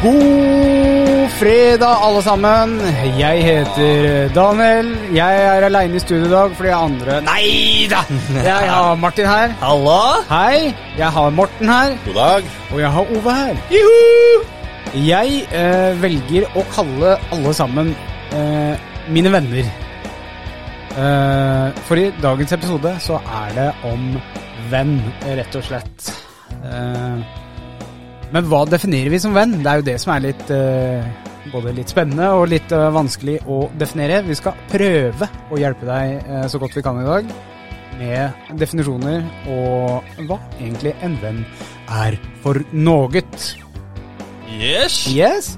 God fredag, alle sammen. Jeg heter eh, Daniel. Jeg er aleine i studio i dag fordi jeg andre Nei da! Jeg har Martin her. Halla! Hei. Jeg har Morten her. God dag. Og jeg har Ove her. Juhu! Jeg eh, velger å kalle alle sammen eh, mine venner. Eh, for i dagens episode så er det om venn, rett og slett. Eh, men hva definerer vi som venn? Det er jo det som er litt eh, både litt spennende og litt eh, vanskelig å definere. Vi skal prøve å hjelpe deg eh, så godt vi kan i dag med definisjoner og hva egentlig en venn er for noget. Yes! Yes.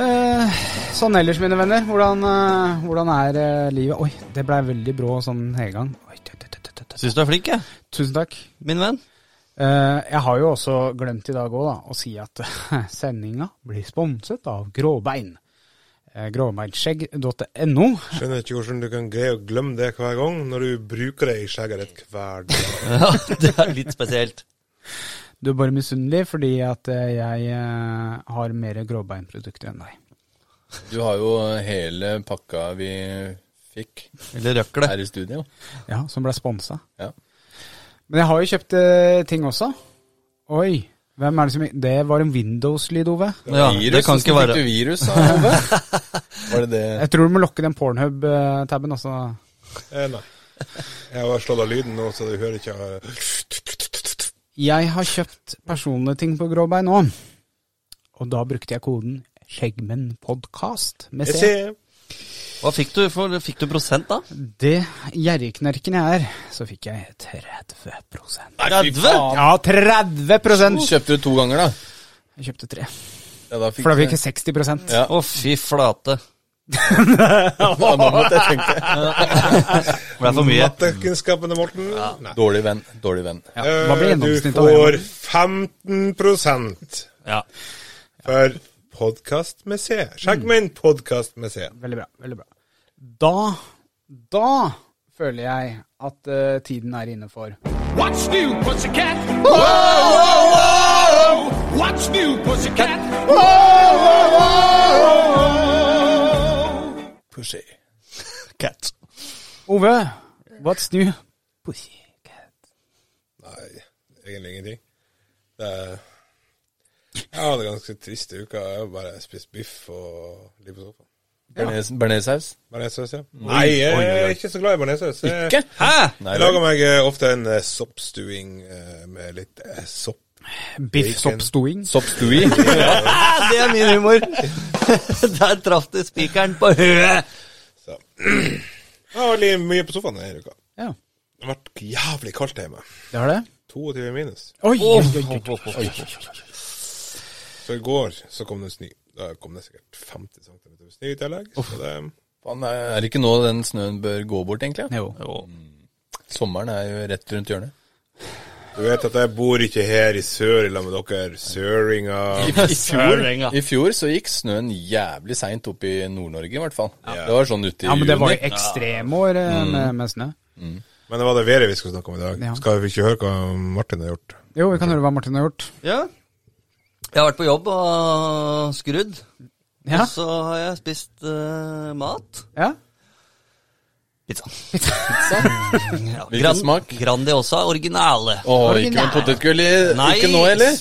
Eh, sånn ellers, mine venner. Hvordan, eh, hvordan er eh, livet? Oi, det blei veldig brå sånn hele gang. Oi, tut, tut, tut, tut, tut. Syns du er flink, jeg, Tusen takk. min venn. Eh, jeg har jo også glemt i dag òg, da, å si at sendinga blir sponset av Gråbein. Eh, Gråbeinskjegg.no. Skjønner ikke hvordan du kan greie å glemme det hver gang, når du bruker det i skjegget ditt hver dag. Ja, det er litt spesielt. Du er bare misunnelig fordi at eh, jeg eh, har mer gråbeinprodukter enn deg. Du har jo hele pakka vi fikk Eller røkle. her i studio. Ja, Som ble sponsa. Ja. Men jeg har jo kjøpt eh, ting også. Oi, hvem er det som Det var en Windows-lyd, Ove. Ja, det kan ikke hvordan være Fikk du virus av Ove? Var det det? Jeg tror du må lokke den Pornhub-tabben også. Eh, nei. Jeg har bare slått av lyden nå, så du hører ikke eh, Jeg har kjøpt personlige ting på Gråbein nå, og da brukte jeg koden skjeggmennpodkast med Jeg C. ser. Hva fikk du for Fikk du prosent, da? Det gjerrigknerken jeg er, så fikk jeg 30 30? Ja, 30 Kjøpte du to ganger, da? Jeg kjøpte tre. Ja, da fikk For da du- fikk jeg 60 Ja. Å, fy flate. Ja, nå måtte jeg tenke. Det ble for mye. Mattekunnskapene, Morten. Nei. Dårlig venn. Dårlig venn. Ja, hva blir Eh, Du gjennomsnittet av får det? 15 Ja. for podkast med C. Mm. Sjekk min podkast med C. Veldig bra. veldig bra. Da, da føler jeg at eh, tiden er inne for What's new, pussycat? Whoa, whoa, whoa! What's new, pussycat? Whoa, whoa, whoa! Pushy. Cat. Ove, what's new? Nei, egentlig ingenting. Det er jeg hadde ganske triste uker. Jeg har bare spist biff og ligget på sofaen. Bearnés- Bearnéssaus? Bearnéssaus, ja. Nei, jeg er ikke så glad i bearnéssaus. Jeg- Ikke? Hæ? Nei, Jeg lager meg eh, ofte en eh, soppstuing eh, med litt eh, sopp. Biffsoppstoing. Soppstui? Ah, det er min humor. Der traff du spikeren på huet. Så. Jeg har vært li- mye på sofaen denne uka. Ja, Det har vært jævlig kaldt hjemme. det har det. 22 minus. Oi, oi, oi, oi, oi. Så i går så kom det snø. Da kom det sikkert 50 cm snø i tillegg. Så det, Faen, er det ikke nå den snøen bør gå bort, egentlig? Jo. Sommeren er jo rett rundt hjørnet. du vet at jeg bor ikke her i sør i lag med dere søringer. I Sørenga. I fjor så gikk snøen jævlig seint opp i Nord-Norge, i hvert fall. Ja. Det var sånn ute i Ja, men det var jo juni. ekstremår eh, Mm. med, med snø. Men det var det været vi skulle snakke om i dag. Ja. Skal vi ikke høre hva Martin har gjort? Jo, vi kan høre hva Martin har gjort. Ja. Jeg har vært på jobb og skrudd. Ja, Og så har jeg spist eh, mat. ja. Pizza. Ja, Hvilken gran- smak? Grandiosa originale. Åh, ikke med potetgull i Nei. Ikke nå, eller?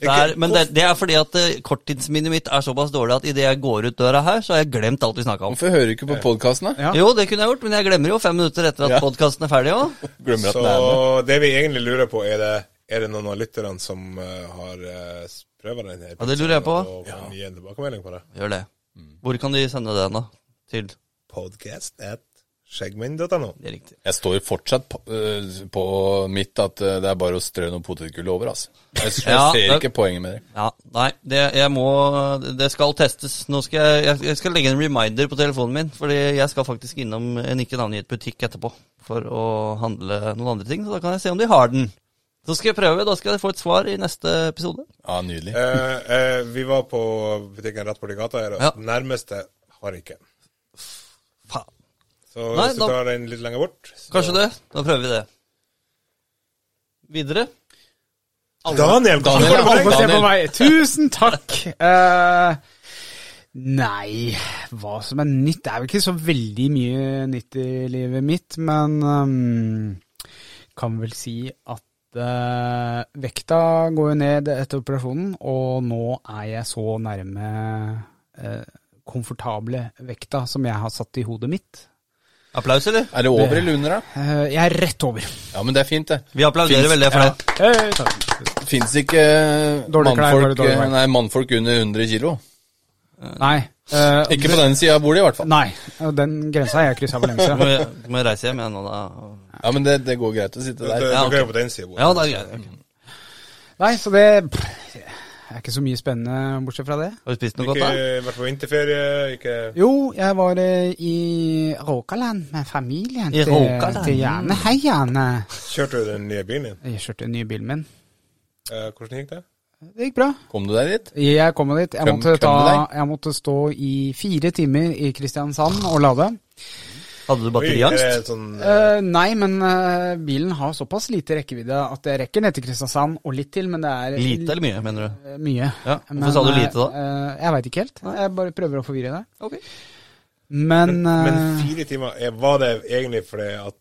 Det er, men det, det er fordi at eh, korttidsminnet mitt er såpass dårlig at idet jeg går ut døra her, så har jeg glemt alt vi snakka om. Hvorfor hører du ikke på podkasten, da? Ja. Jo, det kunne jeg gjort, men jeg glemmer jo fem minutter etter at Ja. podkasten er ferdig òg. Glemmer at Så den er med. det vi egentlig lurer på, er det, er det noen av lytterne som eh, har uh, prøvd den her? Ja, det lurer jeg på. Og kan gi en tilbakemelding på det. Gjør det. Hvor kan de sende den, da? Til Podcast at Skjeggmenn.no. Det er riktig. Jeg står fortsatt på, øh, på mitt at øh, det er bare å strø noe potetgull over, altså. Jeg, jeg Ja, ser det- ikke poenget med det. Ja, nei, det, jeg må, det skal testes. Nå skal jeg, jeg, jeg skal legge en reminder på telefonen min, fordi jeg skal faktisk innom en ikke navngitt butikk etterpå for å handle noen andre ting. Så da kan jeg se om de har den. Så skal jeg prøve, da skal jeg få et svar i neste episode. Ja, nydelig. Eh, eh, vi var på butikken rett borti gata her, og Ja. nærmeste har ikke. Faen. Så Nei, hvis du da- tar den litt lenger bort så... Kanskje det. Da prøver vi det. Videre. Daniel, hvordan Daniel, går det med Daniel. deg? Se på meg. Tusen takk! Eh, nei, hva som er nytt Det er jo ikke så veldig mye nytt i livet mitt, men eh, kan vel si at eh, vekta går jo ned etter operasjonen, og nå er jeg så nærme eh, komfortable vekta som jeg har satt i hodet mitt. Applaus, eller? Er det over eller under, da? Eh, jeg er rett over. Ja, men det er fint, det. Vi applauderer Finns- veldig for ja. det. Hey, takk. Fins ikke øh, Dårlige klær, bare mannfolk, dårlige øh, klær. nei, mannfolk under 100 kilo. Nei. eh, Ikke på den sida av bordet, i hvert fall. Nei, og den grensa har jeg kryssa for lenge Må siden. jeg, må jeg reise hjem igjen nå, da? Ja, men det, det går greit å sitte Du, du, der. Ja, du kan ok. jo på den siden. Ja, det er greit. ok. Nei, så det pff, er ikke så mye spennende bortsett fra det. Har du spist noe godt, Ikke da? vært på vinterferie, ikke Jo, jeg var eh, i Rogaland med familien I til, Rogaland? til Jane. Hei, Jane. Kjørte du den nye bilen din? Jeg kjørte den nye bilen min. Eh, hvordan gikk det? Det gikk bra. Kom du deg dit? Jeg kom meg dit. Jeg Kom- måtte, kom ta, du jeg måtte stå i fire timer i Kristiansand og lade. Hadde du Oi, batteriangst? er det Sånn, eh, Eh, nei, men eh, bilen har såpass lite rekkevidde at jeg rekker ned til Kristiansand og litt til, men det er Lite eller mye, mener du? Eh, Mye. Ja, hvorfor sa du lite da? eh, jeg veit ikke helt. Jeg bare prøver å forvirre deg. Ok. Men, men eh, fire timer, eh, var det egentlig fordi at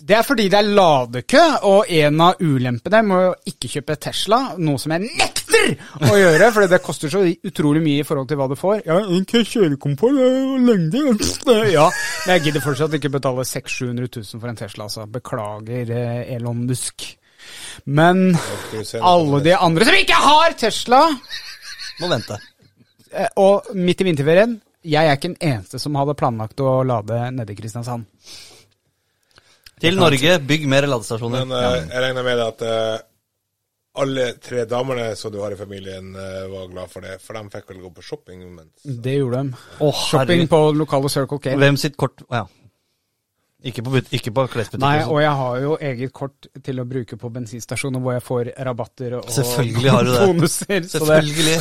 det er fordi det er ladekø, og en av ulempene må jo ikke kjøpe Tesla, noe som jeg nekter å gjøre, fordi det koster så utrolig mye i forhold til hva du får. Ja, ok, kjørekomfort og lengde Ja, men jeg gidder fortsatt ikke betale 600 000-700 000 for en Tesla, altså. Beklager, eh, Elon Musk. Men Skal du se noe alle sånt? de andre som ikke har Tesla, Må vente. Eh, Og midt i vinterferien, jeg er ikke den eneste som hadde planlagt å lade nede i Kristiansand. Til Norge, bygg mer ladestasjoner. Men eh, jeg regner med at eh, alle tre damene som du har i familien, eh, var glad for det. For de fikk vel gå på shopping. Men, Det gjorde de. Å, Shopping herregud. på lokale Circle eh, K. Hvem sitt kort Å, Ja. Ikke på, but- ikke på klesbutikken. Nei, sånn. og jeg har jo eget kort til å bruke på bensinstasjoner hvor jeg får rabatter og Selvfølgelig har du det. bonuser. Så det, Selvfølgelig.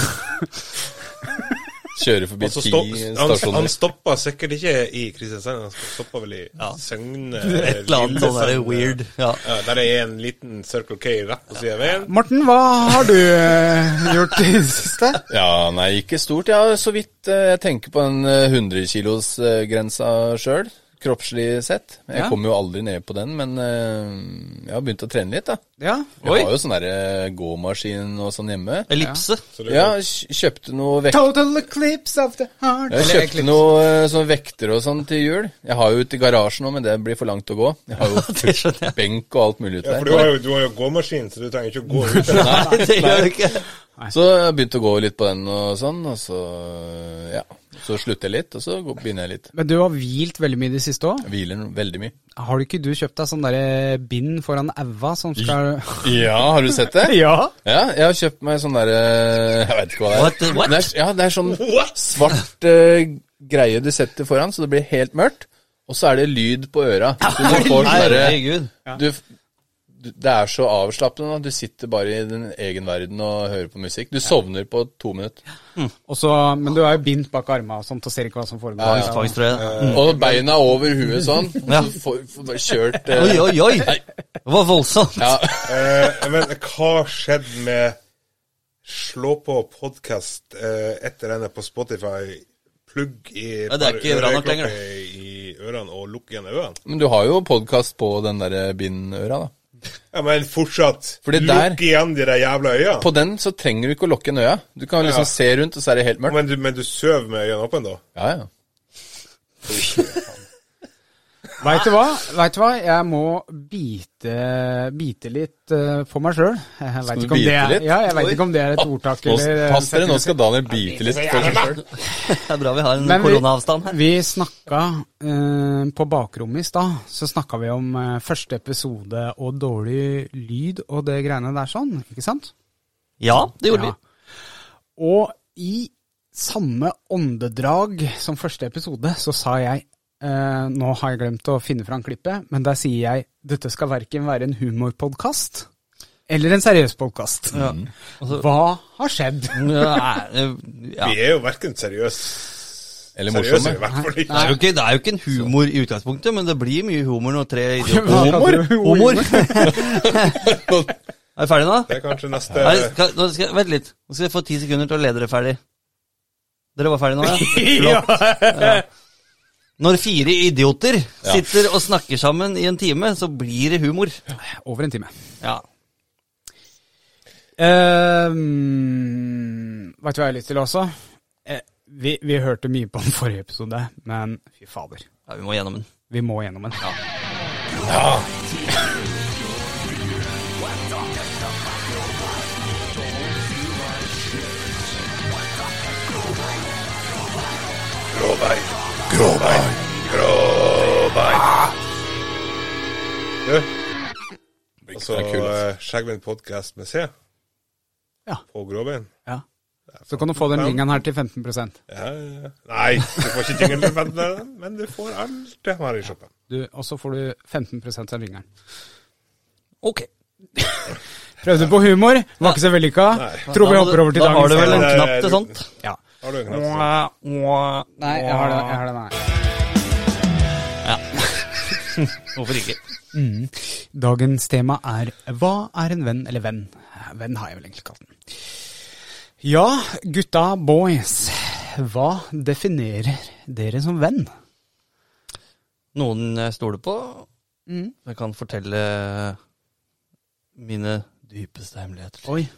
Kjøre forbi Og så ti stopp, han, stasjoner. han stoppa sikkert ikke i Kristiansand, han stoppa vel i Ja. Søgne. Et eller annet sånn der Lillesand. eh, weird. Ja. Ja, der er en liten Circle K rett på siden av veien. Morten, hva har du eh, gjort i det siste? Ja, nei, ikke stort. Ja, så vidt eh, jeg tenker på den eh, 100 kilos eh, grensa sjøl, kroppslig sett. Jeg Ja. kommer jo aldri ned på den, men eh, jeg har begynt å trene litt, da. Ja. Jeg Oi. har jo sånn derre gåmaskin og sånn hjemme. Ellipse. Så du, Ja, kj- kjøpte noe vekter. Total eclipse of the heart. Jeg Eller kjøpte eclipse. noe eh, sånn vekter og sånn til jul. Jeg har jo ute i garasjen nå, men det blir for langt å gå. Jeg har Det jo skjønner jeg. benk og alt mulig ute ja, for der. du har, jo, du har jo gåmaskin, så du trenger ikke å gå ut. Nei, det gjør jeg ikke. Så jeg begynte å gå litt på den og sånn, og så ja. Så slutter jeg litt, og så går- begynner jeg litt. Men du har hvilt veldig mye i det siste òg. Jeg hviler veldig mye. Har du ikke du kjøpt deg sånn derre bind foran aua som skal Ja, har du sett det? Ja. Ja, jeg har kjøpt meg sånn derre Jeg vet ikke hva det er. What? What? Men Det er ja, det er sånn svart eh, greie du setter foran, så det blir helt mørkt. Og så er det lyd på øra. Så du får sånn derre Herregud. du, du, Det er så avslappende. da. Du sitter bare i din egen verden og hører på musikk. Du sovner på to minutter. Og så, men du er jo bindt bak armene og sånt og ser ikke hva som foregår. Ja, Ja. Tvangstrøye. Og beina over huet sånn. Mm. Ja. Og så får, får kjørt eh, Oi, oi, oi. Det var voldsomt. Ja. Eh, men hva skjedde med Slå på podkast etter denne på Spotify, plugg i Ja, det er par ikke bra nok lenger, øreklokker i ørene og lukk igjen øynene? Men du har jo podkast på den derre bindøra, da. Ja, men fortsatt. Fordi der- lukk igjen de der jævla øynene. På den så trenger du ikke å lukke en øya. Du kan liksom Ja. se rundt, og så er det helt mørkt. Men du, men du sover med øynene åpne, da? Ja, ja. Veit du hva? Vet du hva? Jeg må bite, bite litt eh, på meg sjøl. du bite litt? Ja, jeg veit ikke om det er et ordtak Nå, eller eh, pass dere, nå skal Daniel bite litt for seg sjøl. Det er bra vi har en Men vi- koronaavstand her. Vi snakka eh, på bakrommet i stad, så snakka vi om eh, første episode og dårlig lyd og det greiene der sånn, ikke sant? Ja, det gjorde Ja. Og i samme åndedrag som første episode, så sa jeg eh, Nå har jeg glemt å finne fram klippet, men der sier jeg dette skal verken være en humorpodkast eller en seriøs podkast. Altså- Hva har skjedd? vi. Ja, eh, ja. Vi er jo hverken seriøse Eller Seriøse, morsomme. i hvert fall Det er, ikke. jo ikke, det er jo ikke en humor i utgangspunktet, men det blir mye humor når tre idioter Hva kaller du Humor! er vi ferdige nå? Det er kanskje neste Nei, skal, nå skal, vent litt. Nå skal jeg få ti sekunder til å lede dere ferdig. Dere var ferdige nå, ja? Flott. Ja. Når fire idioter sitter og snakker sammen i en time, så blir det humor. Over en time. Ja. Uh, Veit du hva jeg har lyst til også? Eh, vi, vi hørte mye på den forrige episode, men fy fader. ja vi må gjennom den. Vi må gjennom den. Gråbein. Gråbein. Gråbein. Du. Og så Det er kult. eh, Skjeggmenn podcast med C. Ja. På gråbein. Ja. Så kan du få den ringeren her til 15 Ja, ja. ja. Nei, du får ikke jingle, men, men du får alt det her i shoppen. du, Og så får du 15 av ringeren. Ok. Prøvde på humor, var ikke så vellykka. Tror vi Da må hopper du- over til Da har du vel dagens. en Nei, knapp til du- sånt? Ja. Har du en knapp? så- Nei, Nei, jeg har den jeg har den her. Hvorfor ikke? Dagens tema er Hva er en venn eller venn? Venn har jeg vel egentlig kalt den. Ja, gutta boys. Hva definerer dere som venn? Noen jeg stoler på. Mm. Jeg kan fortelle mine dypeste hemmeligheter. Oi.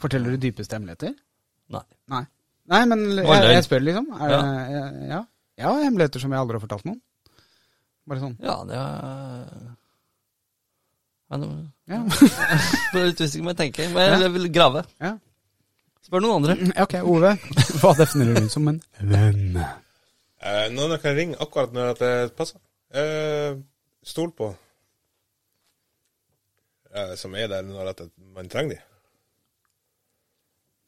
Forteller du dypeste hemmeligheter? Nei. Nei. Nei, men jeg, løgn. jeg spør, liksom. Er det, ja. Jeg har hemmeligheter som jeg aldri har fortalt noen. Bare sånn. Ja, det er Ja, nå- Ja. Jeg er litt usikker på hva jeg tenker, men jeg vil grave. ja. Spør noen andre. Ja, Ok, Ove. Hva definerer du som en venn? Eh, noen jeg kan ringe akkurat når at det passer. Eh, stol på. Eh, som er der når at man trenger de.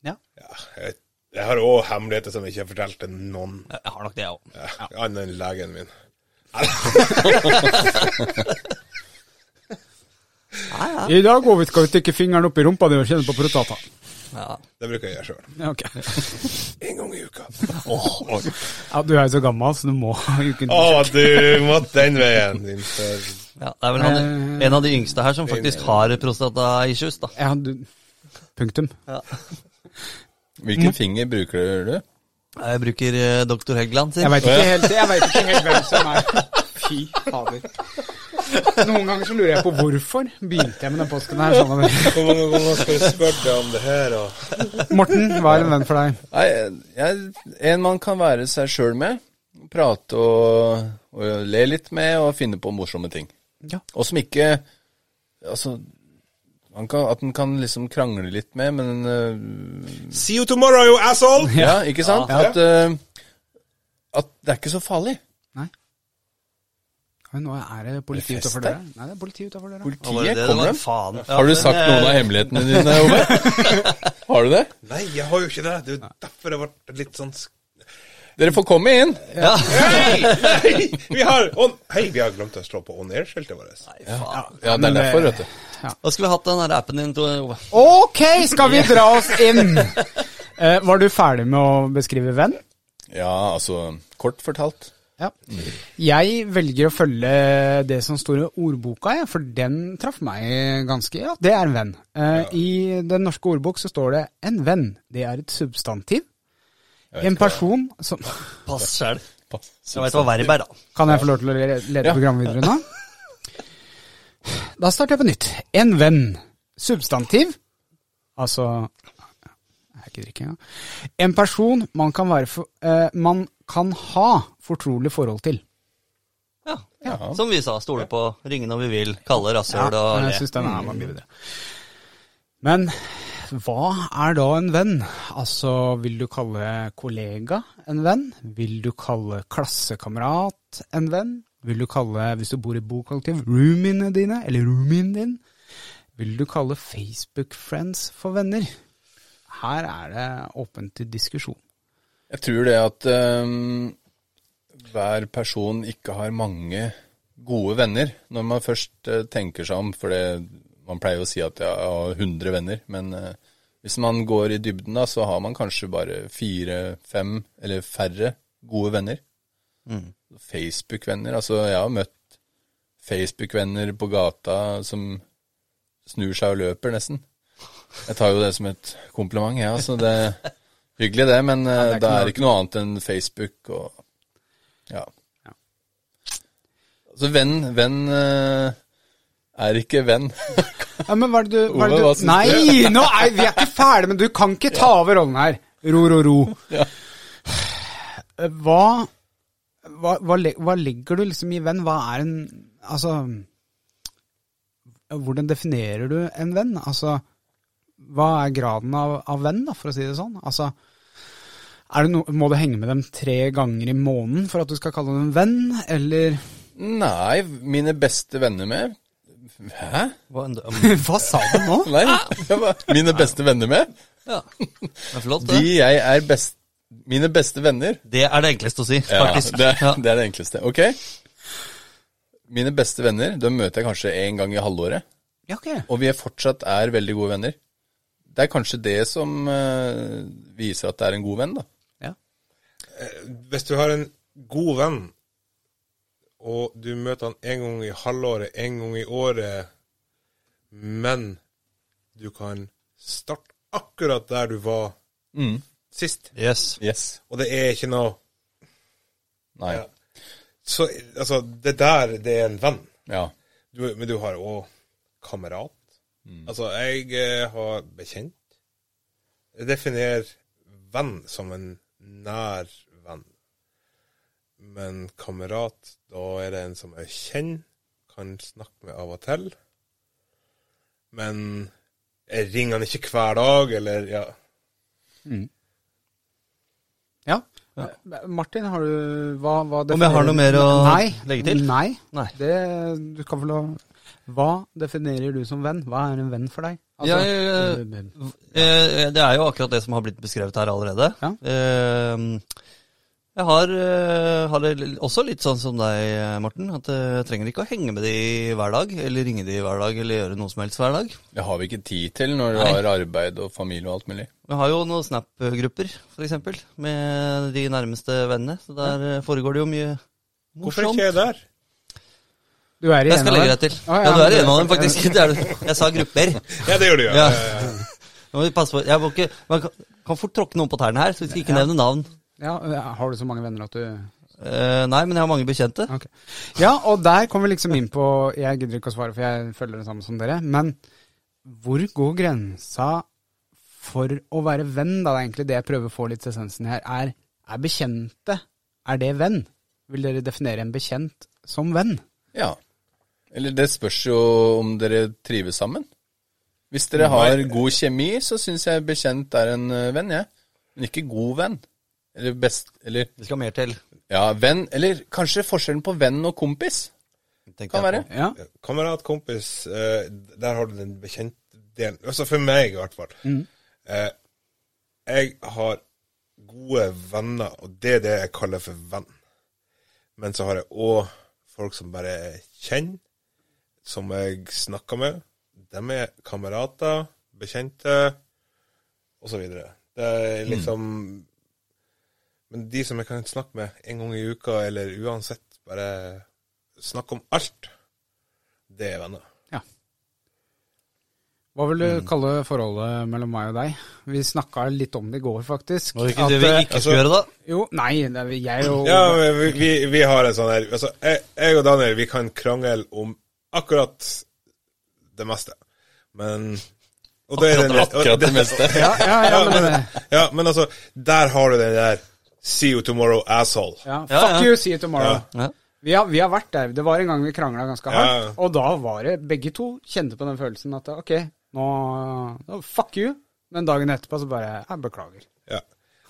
Ja. Ja, jeg, jeg har òg hemmeligheter som jeg ikke har fortalt til noen. Jeg har nok det, jeg òg. Ja, Annet enn legen min. I dag Ove, skal vi stikke fingeren opp i rumpa di og kjenne på prostata. Ja. Det bruker jeg gjøre sjøl. Ja, ok. En gang i uka. Ja, du er jo så gammel, så du må jo kunne Å, du måtte den veien, din før. Ja, det er vel han, Eh. en av de yngste her som faktisk har prostata-issues, da. Ja, du... Punktum. Hvilken finger bruker du? Jeg bruker eh, Dr. Heggeland sin. Jeg veit ikke, helt- jeg vet ikke helt hvem som er Fy fader. Noen ganger så lurer jeg på hvorfor begynte jeg med den posten her. Sånn at- Hvor mange ganger skal jeg spørre deg om det her? Og... Morten, hva er en venn for deg? Nei, jeg, en man kan være seg sjøl med. Prate og, og le litt med, og finne på morsomme ting. Ja. Og som ikke Altså man kan, At en kan liksom krangle litt med, men øh, See you tomorrow, you asshole! Ja, ikke sant? Ja. At, øh, at det er ikke så farlig. Oi, Nå er det politi Er det fest utafor der? døra. Nei, det er politi utenfor døra. Hva var det Politiet det kommer var? dem. Faen. Ja, Har du men, sagt eh, noen av hemmelighetene dine, Ove? Har du det? Nei, jeg har jo ikke det. Det er jo derfor det ble litt sånn sk- Dere får komme inn. Ja. Hei! Vi har on... Hei, vi har glemt å slå på on air-skiltet vårt. Nei, faen. Ja, det men det- er eh, derfor, vet du. Da skulle vi hatt den der appen din, tror jeg, Ove. Ok, skal vi dra oss inn? Eh, var du ferdig med å beskrive venn? Ja, altså Kort fortalt. Ja. Jeg velger å følge det som står i ordboka, jeg, for den traff meg ganske Ja, det er en venn. Eh, I den norske ordbok så står det 'en venn'. Det er et substantiv. En person som Pass sjæl. Pass. Jeg veit hva verb er, da. Kan jeg få lov til å le- lede programmet videre nå? Da starter jeg på nytt. En venn. Substantiv. Altså Jeg er ikke drikke engang. En person man kan, være for, eh, man kan ha fortrolig forhold til. Ja. Som vi sa, stole på, ringe når vi vil, kalle rasshøl Ja, og men jeg le. Mm. synes den er mye bedre. Men hva er da en venn? Altså, vil du kalle kollega en venn? Vil du kalle klassekamerat en venn? Vil du kalle, hvis du bor i bokollektiv, roomiene dine, eller roomien din? Vil du kalle Facebook-friends for venner? Her er det åpent til diskusjon. Jeg tror det at øhm, hver person ikke har mange gode venner når man først øh, tenker seg om, for det, man pleier å si at jeg har 100 venner, men øh, hvis man går i dybden da, så har man kanskje bare fire, fem eller færre gode venner. Facebook-venner, altså jeg har møtt Facebook-venner på gata som snur seg og løper nesten. Jeg tar jo det som et kompliment, jeg, altså det... Hyggelig det, men eh, det er det ikke er noe- ikke noe annet enn Facebook og Ja. Altså, venn, venn eh, er ikke venn. Ja, men hva er det du, hva er det Ove, hva du synes Nei, nå er, vi er ikke ferdige, men du kan ikke ta over rollen her. Ro, ro, ro. Hva, hva, hva, le- hva legger du liksom i venn? Hva er en Altså Hvordan definerer du en venn? Altså Hva er graden av, av venn, da, for å si det sånn? Altså er det no, Må du henge med dem tre ganger i måneden for at du skal kalle dem en venn, eller Nei, mine beste venner med Hæ? Hva en- Mm. Hva sa du nå? Nei, jeg bare- mine beste venner med? Ja. Det er flott, De det. jeg er best... Mine beste venner. Det er det enkleste å si, Ja, faktisk. det, Ja. det er det enkleste. Ok. Mine beste venner, dem møter jeg kanskje én gang i halvåret. Ja, ok. og vi er fortsatt er veldig gode venner. Det er kanskje det som eh, viser at det er en god venn, da. Hvis du har en god venn, og du møter han en gang i halvåret, en gang i året, men du kan starte akkurat der du var Mm. sist, Yes. Yes. og det er ikke noe Nei. Ja. Så altså, det der, det er en venn. Ja. Du, men du har òg kamerat. Altså, jeg eh, har bekjent. Jeg definerer venn som en nær venn. Men kamerat, da er det en som jeg kjenner, kan snakke med av og til. Men jeg ringer han ikke hver dag, eller ja. Ja. Martin, har du hva, hva Om jeg har noe mer å nei, legge til? Nei. Nei. Det, du kan vel ha Hva definerer du som venn? Hva er en venn for deg? Altså, Jeg, Eh, Det er jo akkurat det som har blitt beskrevet her allerede. Ja. Eh, Jeg har, eh, har det l- også litt sånn som deg, eh, Morten, at eh, jeg trenger ikke å henge med de hver dag, eller ringe de hver dag, eller gjøre noe som helst hver dag. Det har vi ikke tid til når vi Nei. har arbeid og familie og alt mulig. Vi har jo noen Snap-grupper, f.eks., med de nærmeste vennene, så der eh, foregår det jo mye Hvorfor morsomt. ikke jeg der? du er i Jeg en skal av legge dem. deg til. Å, Ja, du er men- en av dem, faktisk. Det er du. Jeg sa grupper. Ja, det gjør du, ja. Ja. ja. ja, ja. Nå må vi passe på. Jeg må ikke, man kan- kan fort tråkke noen på tærne her, så vi skal ikke nevne navn. Ja, har du så mange venner at du Eh, Nei, men jeg har mange bekjente. Ok. Ja, og der kommer vi liksom inn på Jeg gidder ikke å svare, for jeg følger det samme som dere. Men hvor går grensa for å være venn, da? Det er egentlig det jeg prøver å få litt essensen her. Er, er bekjente Er det venn? Vil dere definere en bekjent som venn? Ja. Eller det spørs jo om dere trives sammen. Hvis dere har god kjemi, så syns jeg bekjent er en eh, venn, jeg. Men ikke god venn. Eller best Eller Det skal mer til. ja, venn. Eller kanskje forskjellen på venn og kompis tenker kan jeg være. på. Ja. Kamerat, kompis, eh, der har du den bekjentdelen. Altså for meg, i hvert fall. Eh, jeg har gode venner, og det er det jeg kaller for venn. Men så har jeg òg folk som bare kjenner, som jeg snakker med. De er kamerater, bekjente, osv. Det er liksom Men de som jeg kan snakke med en gang i uka, eller uansett, bare snakke om alt. Det er venner. Hva vil du Mm. kalle forholdet mellom meg og deg? Vi snakka litt om det i går, faktisk. Var det ikke At, det vi eh, ikke skulle gjøre, da? Jo, nei, det er jeg og Ja, men vi, vi, vi har en sånn her altså, jeg, jeg og Daniel, vi kan krangle om akkurat det meste. Men og da er det- Akkurat det meste. ja, ja, ja, Ja, men, men, ja, men altså, der har du den der See you tomorrow, asshole. ja, Ja, Fuck ja. you, see you tomorrow. Ja. Vi har, vi har vært der. Det var en gang vi krangla ganske hardt. Ja. Og da var det begge to kjente på den følelsen at ok, nå, nå fuck you. Men dagen etterpå så bare jeg beklager. Ja.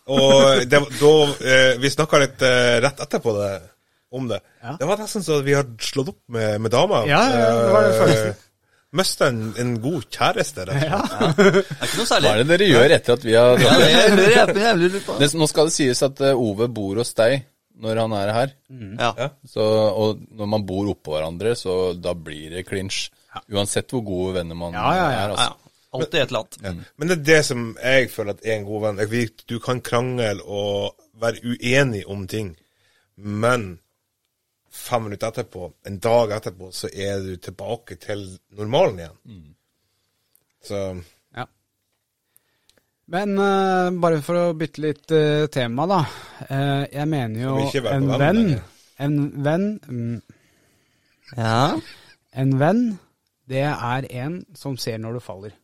Og det, var- da eh, Vi snakka litt eh, rett etterpå det, om det. Ja. Det var nesten så vi hadde slått opp med, med dama. Ja, ja, det var den følelsen. Mista en, en god kjæreste, rett og slett. Det er ikke noe Hva særlig. er det dere gjør etter at vi har Ja, det jeg lurer jeg på, jeg lurer på. det, Nå skal det sies at eh, Ove bor hos deg når han er her. Mm. Ja. Så, og når man bor oppå hverandre, så da blir det klinsj. Uansett hvor gode venner man Ja, ja, ja. er. Ja, Altså. Alltid et eller annet. Men det er det som jeg føler at er en god venn. Jeg vet, Du kan krangle og være uenig om ting, men fem minutter etterpå, en dag etterpå, så er du tilbake til normalen igjen. Mm. Så Ja. Men eh, bare for å bytte litt eh, tema, da. Eh, jeg mener jo Skal vi ikke være en på den, venn eller? En venn mm, Ja. En venn, det er en som ser når du faller.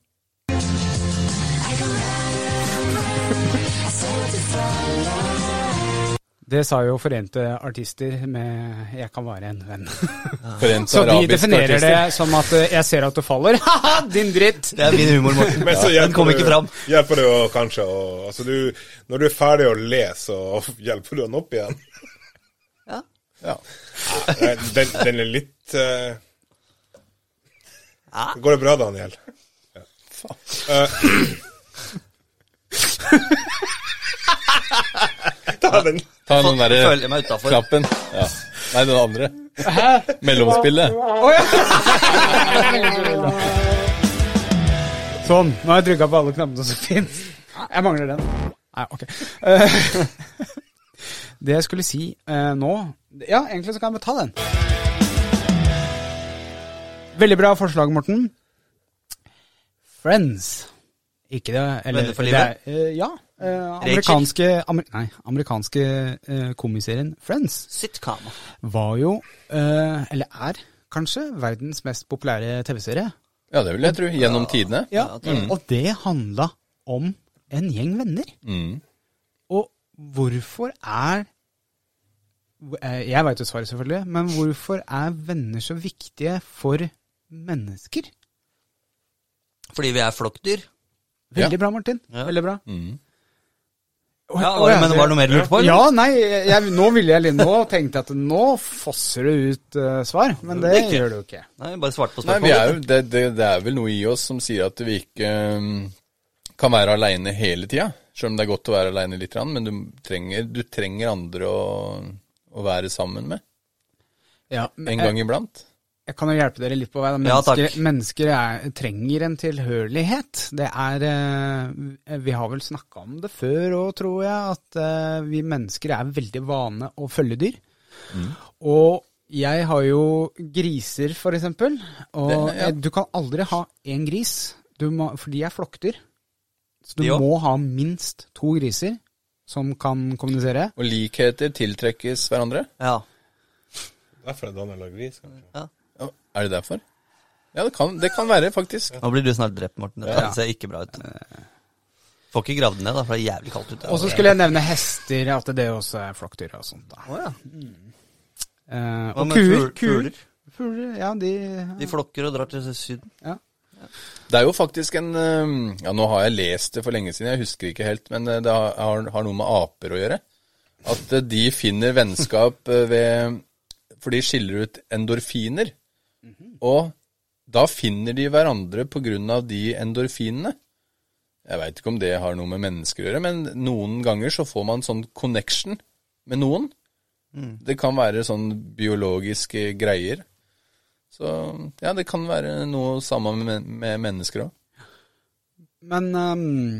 Det sa jo Forente artister med 'Jeg kan være en venn'. Forente Så de arabiske definerer artister. det som at eh, 'jeg ser at du faller'. Ha-ha, din dritt! Det er min humor, Morten. Men så Den kom hjelper ikke det- fram. Hjelper det jo kanskje å altså du, Når du er ferdig å le, så hjelper du han opp igjen. Ja. Den, den- den er litt eh, Går det bra, Daniel? Ja. Eh, Ta den. Ta den Føler jeg derre meg utafor. klappen. Ja. Nei, den andre. Mellomspillet. Sånn, nå har jeg trykka på alle knappene som fins. Jeg mangler den. Nei, ok. Eh, Det jeg skulle si eh, nå Ja, egentlig så kan jeg bare ta den. Veldig bra forslag, Morten. Friends. Ikke det eller, Venner for det livet? er- eh, ja. eh, amerikanske amer, Nei, amerikanske eh, komiserien Friends Sitcom. var jo, eh, eller er kanskje, verdens mest populære TV-serie. Ja, det vil jeg tro. Gjennom tidene. Ja, og det handla om en gjeng venner. Mm. Og hvorfor er eh, Jeg veit jo svaret, selvfølgelig, men hvorfor er venner så viktige for mennesker? Fordi vi er flokkdyr. Veldig Ja. bra, Martin. Ja. Veldig bra. Mm. Og- Ja, og var det, jeg- men var det noe mer du lurte på? eller? Ja, nei, jeg, nå ville jeg litt Nå tenkte jeg at nå fosser det ut eh, svar, men det, Det er ikke. gjør det jo ikke. Nei, bare svarte på Nei, spørsmålet. vi er jo, det, det, det er vel noe i oss som sier at vi ikke um, kan være aleine hele tida. Selv om det er godt å være aleine litt, grann, men du trenger, du trenger andre å, å være sammen med. Ja, men En jeg- gang iblant. Jeg kan jo hjelpe dere litt på vei. da. Ja, takk. Mennesker, mennesker er, trenger en tilhørighet. Det er eh, Vi har vel snakka om det før òg, tror jeg, at eh, vi mennesker er veldig vane å følge dyr. Og jeg har jo griser, for eksempel. Og Det- ja. eh, du kan aldri ha én gris, du må, for de er flokkdyr. Så du De også? må ha minst to griser som kan kommunisere. Og likheter tiltrekkes hverandre. Ja. Derfor er Daniel og gris, kanskje. Ja, Er det derfor? Ja, det kan, det kan være, faktisk. Nå blir du snart drept, Morten. Det ser ikke bra ut. Får ikke gravd ned, da, for det er jævlig kaldt ute. Og så skulle jeg nevne hester, at det også er flokkdyr og sånt. da. Å, ja. Eh, Hva og med kuer, fugl- kuer. fugler? Fugler, ja, de, De flokker og drar til Syden. Det er jo faktisk en um, Ja, nå har jeg lest det for lenge siden, jeg husker ikke helt, men uh, det har, har- har noe med aper å gjøre. At uh, de finner vennskap uh, ved For de skiller ut endorfiner. Og da finner de hverandre på grunn av de endorfinene. Jeg veit ikke om det har noe med mennesker å gjøre, men noen ganger så får man sånn connection med noen. Det kan være sånn biologiske greier. Så ja, det kan være noe sammen med, men- med mennesker òg. Men ehm,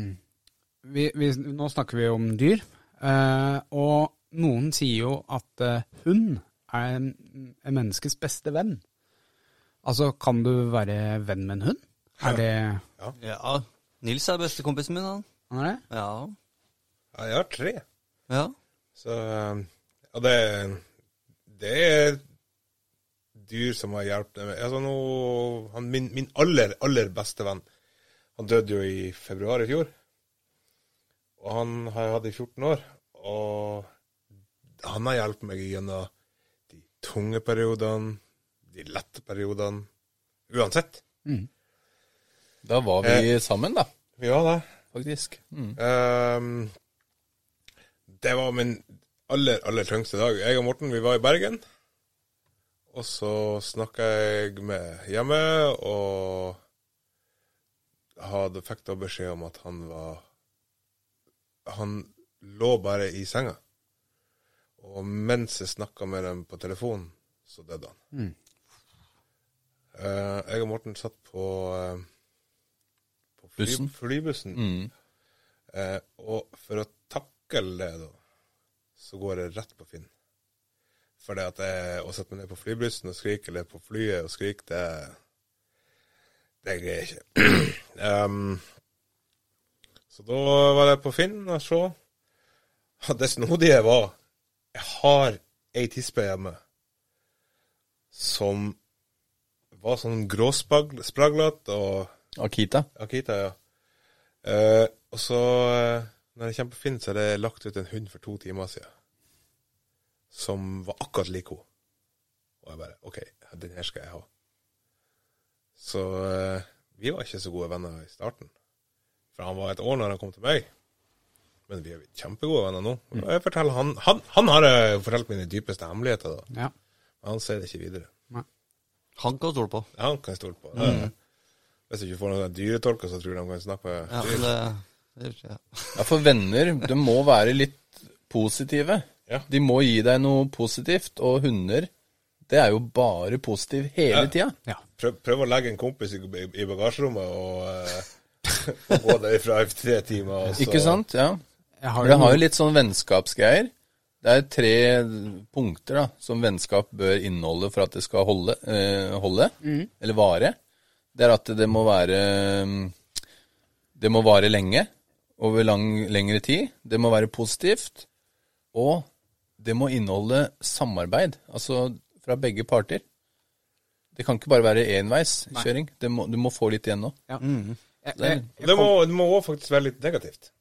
vi, vi, nå snakker vi om dyr, eh, og noen sier jo at eh, hund er en, en menneskes beste venn. Altså, kan du være venn med en hund? Er det Ja. Nils er bestekompisen min, han. han er det? Ja. Ja, jeg har tre. ja. Så eh, Og det Det er dyr som har hjulpet meg. Altså nå han, min, min aller, aller beste venn Han døde jo i februar i fjor. Og han har jeg hatt i 14 år. Og han har hjulpet meg gjennom de tunge periodene, de lette periodene. Uansett. Da var vi sammen, da, Ja da. faktisk. Mm. Ehm, det var min aller, aller tyngste dag. Jeg og Morten, vi var i Bergen. Og så snakka jeg med hjemme, og hadde, fikk da beskjed om at han var Han lå bare i senga. Og mens jeg snakka med dem på telefonen, så døde han. Mm. Eh, jeg og Morten satt på, eh, på fly, Bussen. flybussen. Mm. Eh, og for å takle det, da, så går jeg rett på Finn. For det at jeg, å sette meg ned på flybussen og skrike, eller på flyet og skrike, det Det greier jeg ikke. Ehm, så da var jeg på Finn og så. Og Det snodige var Jeg har ei tispe hjemme som var sånn gråspraglete og Akita. Akita, ja. Eh, og så, eh, når jeg kommer på Finn, så er det lagt ut en hund for to timer siden. Som var akkurat lik henne. Og jeg bare OK, den her skal jeg ha. Så eh, vi var ikke så gode venner i starten. For han var et år når han kom til meg. Men vi er kjempegode venner nå. Og Jeg forteller han, han, han har jeg fortalt mine dypeste hemmeligheter, Ja. da. Men han sier det ikke videre. Han kan du stole på. Han kan jeg stole på. Det- Hvis du ikke får noen dyretolker, så tror jeg de kan snakke med Ja, men det, det, ja. Ja, for venner, de må være litt positive. Ja. De må gi deg noe positivt, og hunder, det er jo bare positiv hele tida. Ja. Prøv, prøv å legge en kompis i, i bagasjerommet og, eh, og gå derifra i tre timer. Og så, Ikke sant? Ja. Jeg For har det jo har jo noe- litt sånn vennskapsgreier. Det er tre punkter da, som vennskap bør inneholde for at det skal holde, eh, holde eller vare. Det er at det må være mm, Det må vare lenge, over lang, lengre tid. Det må være positivt. Og det må inneholde samarbeid, altså fra begge parter. Det kan ikke bare være enveiskjøring. Det må- Du må få litt igjen nå. ja. Jeg, Det er- jeg, Det må, det må også faktisk være litt negativt.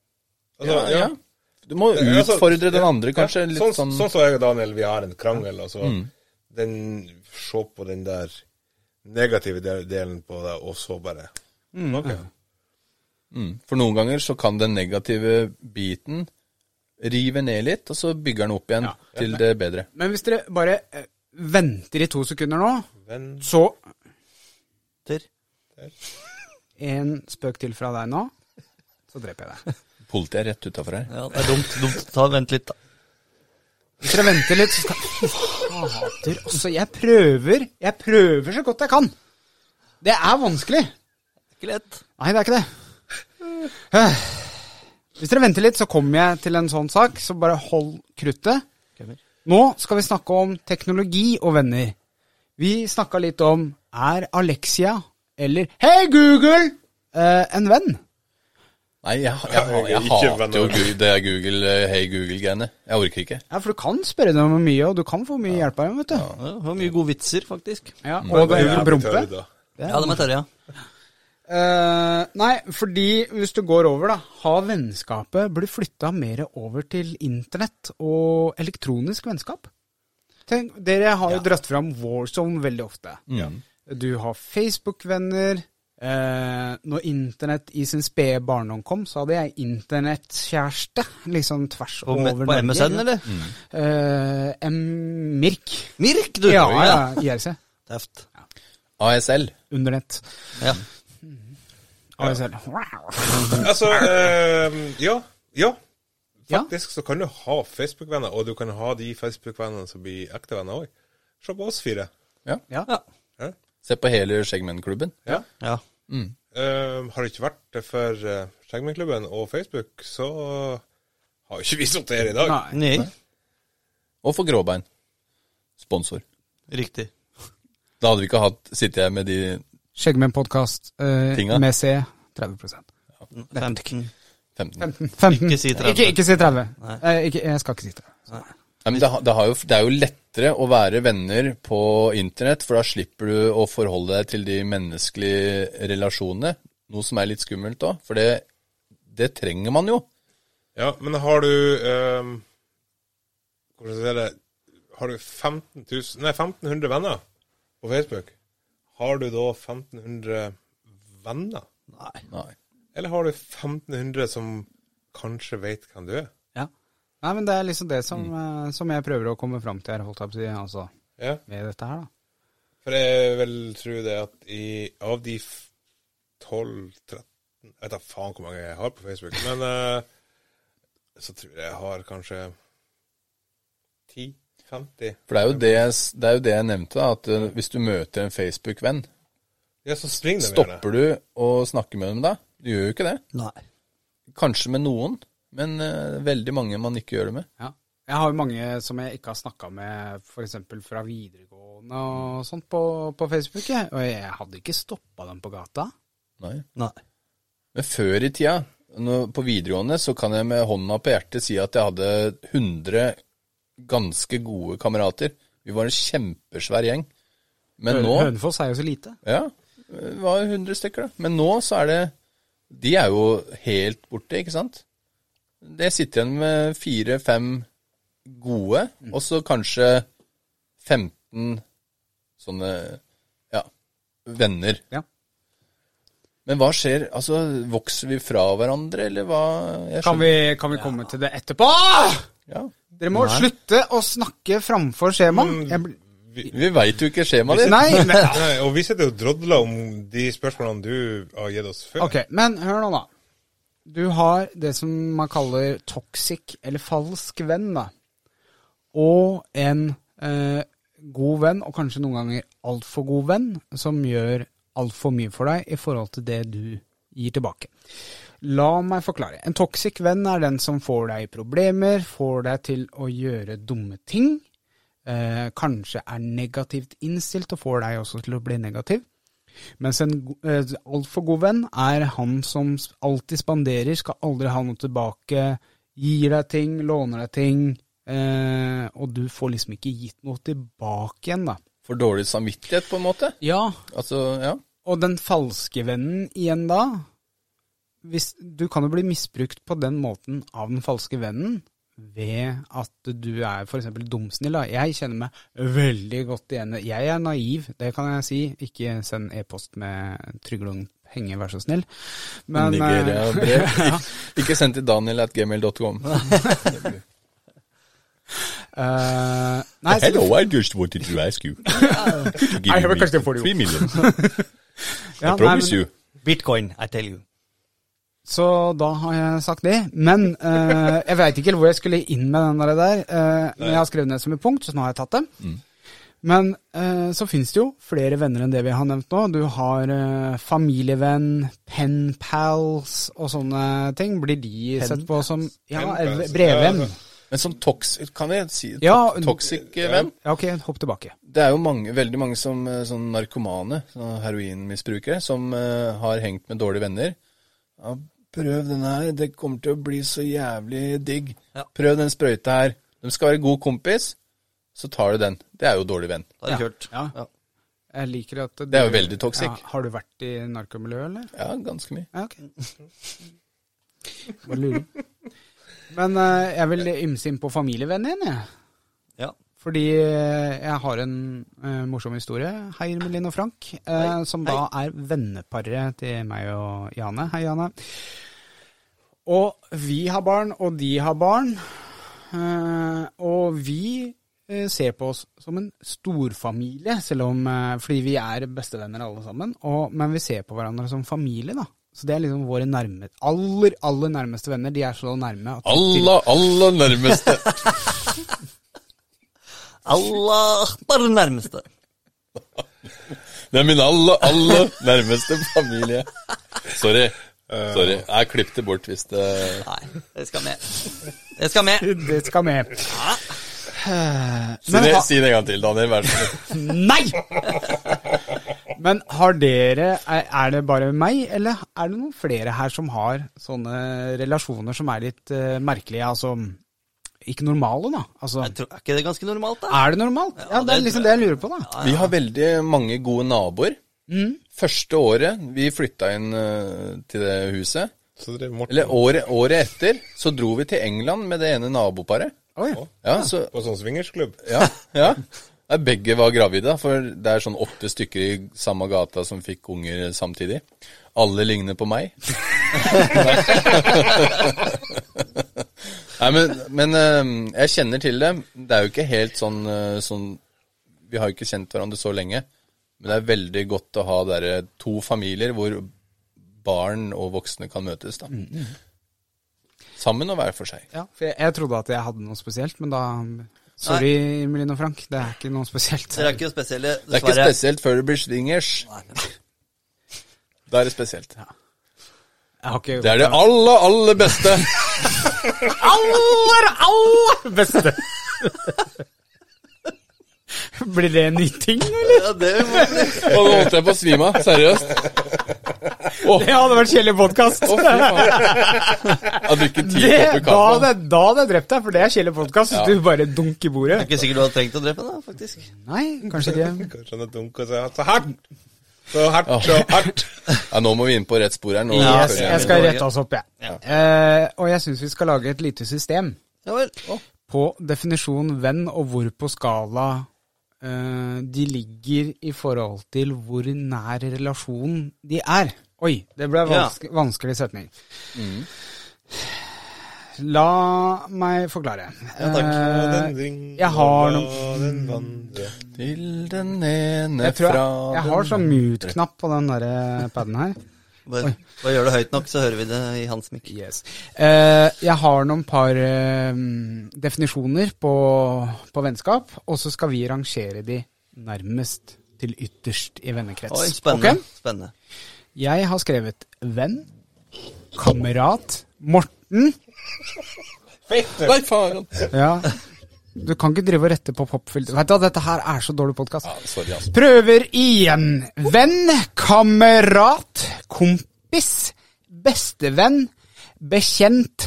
Altså, Ja, ja. Du må utfordre den andre, kanskje. Litt Litt Mm. sånn som sånn som jeg og Daniel, vi har en krangel, og så den, se på den der negative del- delen på det, og så bare Ok. Mm. For noen ganger så kan den negative biten rive ned litt, og så bygger den opp igjen Ja. til det bedre. men hvis dere bare eh, venter i to sekunder nå, Men så Der. En spøk til fra deg nå, så dreper jeg deg. Politiet er rett utafor her. ja, det er dumt. dumt. Ta Vent litt, da. Hvis dere venter litt, så skal Fader også, jeg prøver. Jeg prøver så godt jeg kan. Det er vanskelig. Ikke lett. Nei, det er ikke det. Eh, Hvis dere venter litt, så kommer jeg til en sånn sak, så bare hold kruttet. Kommer. Nå skal vi snakke om teknologi og venner. Vi snakka litt om er Alexia eller Hei, Google! eh, en venn. Nei, jeg, jeg, jeg, Ikke hater jo venner. Gu- det er Google, eh, hey Google-greiene. Jeg orker ikke. Ja, For du kan spørre dem om mye, og du kan få mye hjelp av dem, vet du. Ja, det var mye gode vitser, faktisk. Ja, og det er jo jævlig brumpe. tørre da. Ja, det må jeg tørre, ja. Eh, nei, fordi hvis du går over, da Har vennskapet blitt flytta mer over til internett og elektronisk vennskap? Tenk, dere har jo dratt fram Warzone veldig ofte. Du har Facebook-venner. Eh, når internett i sin spede barndom kom, så hadde jeg internettkjæreste. Liksom tvers På, over på MSN, eller? Mm. Eh, M- Mirk. Mirk, du! Ja, ja, IRC. Teft. ASL. Undernett. Ja. ASL. Altså, eh, ja. Ja. Ja. Faktisk så kan du ha Facebook-venner, og du kan ha de Facebook-vennene som blir ekte venner òg. Se på oss fire. Ja. Ja. Ja. Se på hele Skjeggmennklubben. Ja. ja. Eh, har det ikke vært det for uh, Skjeggmennklubben og Facebook, så har jo ikke vi sittet her i dag. Nei. Nei. Og for Gråbein. Sponsor. Riktig. Da hadde vi ikke hatt Sitter jeg med de Skjeggmennpodkast Tinga. uh, med C 30 15. 15 15. Ikke si 30. Ikke, ikke si 30. Nei. Eh, ikke, jeg skal ikke si 30. Nei, men det, har- det, har jo, det er jo lettere å være venner på internett, for da slipper du å forholde deg til de menneskelige relasjonene. Noe som er litt skummelt òg, for det, det trenger man jo. Ja, men har du eh, Hvordan ehm, skal jeg si det har du 15 000, nei, 1500 venner på Facebook, har du da 1500 venner? Nei. Nei. Eller har du 1500 som kanskje vet hvem du er? Ja. Nei, men det er liksom det som, eh, som jeg prøver å komme fram til her, holdt jeg på å si, altså, Ja, med dette her, da. for jeg vil tro det at i, av de 12-13 Jeg vet da faen hvor mange jeg har på Facebook, men eh, så tror jeg jeg har kanskje 10-50. For det er, jo det, det er jo det jeg nevnte, da, at eh, hvis du møter en Facebook-venn, Ja, så spring dem gjerne. stopper du å snakke med dem da? Du gjør jo ikke det. Nei. Kanskje med noen, men eh, veldig mange man ikke gjør det med. Ja. Jeg har jo mange som jeg ikke har snakka med, f.eks. fra videregående og sånt på, på Facebook. Jeg. Og jeg hadde ikke stoppa dem på gata. Nei. Nei. Men før i tida, når, på videregående, så kan jeg med hånda på hjertet si at jeg hadde 100 ganske gode kamerater. Vi var en kjempesvær gjeng. Men nå Hønefoss er jo så lite. Ja, det var 100 stykker, da. Men nå så er det De er jo helt borte, ikke sant? Det sitter igjen med fire-fem gode, Mm. og så kanskje 15 sånne ja, venner. Ja. Men hva skjer? Altså, vokser vi fra hverandre, eller hva? Jeg Kan vi, kan vi komme til det etterpå? Ah! skjønner- Ja. Dere må slutte å snakke framfor skjemaet. Jeg blir- Vi veit jo ikke skjemaet ditt. Nei, men Mm. Nei, og vi sitter jo og drodler om de spørsmålene du har gitt oss før. Ok, men hør nå, da. Du har det som man kaller toxic, eller falsk venn, da. Og en eh, god venn, og kanskje noen ganger altfor god venn, som gjør altfor mye for deg i forhold til det du gir tilbake. La meg forklare. En toxic venn er den som får deg i problemer, får deg til å gjøre dumme ting. Eh, kanskje er negativt innstilt, og får deg også til å bli negativ. Mens en go- eh, altfor god venn er han som s- alltid spanderer, skal aldri ha noe tilbake, gir deg ting, låner deg ting, eh, og du får liksom ikke gitt noe tilbake igjen, da. For dårlig samvittighet, på en måte. Ja, Altså, ja. og den falske vennen igjen da, hvis, du kan jo bli misbrukt på den måten av den falske vennen, ved at du er for eksempel dumsnill. Da. Jeg kjenner meg veldig godt igjen. Jeg er naiv, det kan jeg si. Ikke send e-post med Tryglung penger, vær så snill. Men, eh, Nigeria-brev. Ikke send til daniel at gmail.com. eh, nei, så du, I just wanted to ask you. I have a question for you. three million. ja, nei, men- Bitcoin, I tell you. Så da har jeg sagt det. Men eh, jeg veit ikke hvor jeg skulle inn med den der. der eh, men jeg har skrevet ned som et punkt, så nå har jeg tatt det. Mm. Men eh, så fins det jo flere venner enn det vi har nevnt nå. Du har eh, familievenn, penpals og sånne ting. Blir de sett på som Ja, Penpals, eh, brevvenn. ja, Men som toxic, kan jeg si to Ja, toxic eh, venn? Ja, ok, hopp tilbake. Det er jo mange, veldig mange som eh, sånn narkomane, sånn heroinmisbrukere, som eh, har hengt med dårlige venner. Ja, prøv den her, det kommer til å bli så jævlig digg. Ja. Prøv den sprøyta her. De skal være god kompis, så tar du den. Det er jo dårlig venn. Da er det kjørt. Ja. Jeg liker at Det er jo veldig toxic. Ja, har du vært i narkomiljøet, eller? Ja, ganske mye. Ja, Ah, ok. Bare lurer. Men eh, jeg vil ymse inn på familievennen igjen, jeg. Ja. Fordi eh, jeg har en eh, morsom historie. Hei, Irmelin og Frank. eh, som da er venneparet til meg og Jane. Hei, Jane. Og vi har barn, og de har barn. eh, og vi eh, ser på oss som en storfamilie, selv om eh, Fordi vi er bestevenner alle sammen. Og, men vi ser på hverandre som familie, da. Så det er liksom våre nærme, aller, aller nærmeste venner. De er så nærme at Aller, aller nærmeste. Allah, bare nærmeste. Det er min aller, aller nærmeste familie. Sorry. Sorry. Jeg klippte bort hvis det Nei, det skal med. Det skal med. Det skal med. Eh, Si Men, det, ha, si det en gang til, Daniel. Vær så snill. nei! Men har dere er- Er det bare meg, eller er det noen flere her som har sånne relasjoner som er litt eh, merkelige? Altså ikke normale, da. Altså, Jeg tror, er ikke det ganske normalt, da? er det normalt? Ja, det er det liksom tror det jeg. jeg lurer på, da. Vi har veldig mange gode naboer. Mm. Første året vi flytta inn eh, til det huset, Så det er Morten. eller året, året etter, så dro vi til England med det ene naboparet. Oi. Ja, så, På sånn swingersklubb. ja, ja. Nei, Begge var gravide, for det er sånn åtte stykker i samme gata som fikk unger samtidig. Alle ligner på meg. Nei, men, men eh, jeg kjenner til det. Det er jo ikke helt sånn, eh, sånn Vi har jo ikke kjent hverandre så lenge. Men det er veldig godt å ha der, eh, to familier hvor barn og voksne kan møtes. da. Sammen og hver for seg. Ja, for jeg, jeg trodde at jeg hadde noe spesielt, men da Sorry, Emilien og Frank, det er ikke noe spesielt. Dere er ikke spesielle, Det er ikke dessverre. spesielt før det blir swingers. Da er det spesielt. Jeg har ikke Det er det aller, aller beste. aller, aller beste! Blir det en ny ting, eller? Ja, det må bli. Og nå holdt jeg på å svime av. Seriøst. Det hadde vært kjedelig podkast. Å, fy faen. Jeg drikker ti Det, da kopper kaffe. hadde da hadde jeg drept deg, for det er kjedelig podkast. Du bare dunker i bordet. Det er ikke sikkert du hadde trengt å drepe den, da, faktisk. Nei, kanskje ikke. Kanskje han er dunk og sier så hardt! Så hardt, så hardt! Ja, nå må vi inn på rett spor her. Nå Ja, før Yes, jeg- jeg skal rette oss opp, jeg. Eh, og jeg syns vi skal lage et lite system Ja vel. Å, på definisjon venn, og hvor på skala eh, de ligger i forhold til hvor nær relasjonen de er. Oi, det ble Ja. Mm. vanske, vanskelig setning. La meg forklare. Ja, takk. Eh, Den ring, jeg har og noen- den vandrer. Til den ene jeg tror jeg, fra jeg har sånn mute-knapp på den der eh, paden her. Bare, bare gjør det høyt nok, så hører vi det i hans mikk. Yes. Eh, jeg har noen par eh, definisjoner på, på vennskap, og så skal vi rangere de nærmest til ytterst i vennekrets. Oi, spennende. Ok? Spennende. Jeg har skrevet venn, kamerat, Morten Nei, faen. ja. Du kan ikke drive og rette på popfilter. Vet du, hva, dette her er så dårlig podkast. Ja, sorry, altså. Prøver igjen. Venn, kamerat, kompis, bestevenn, bekjent,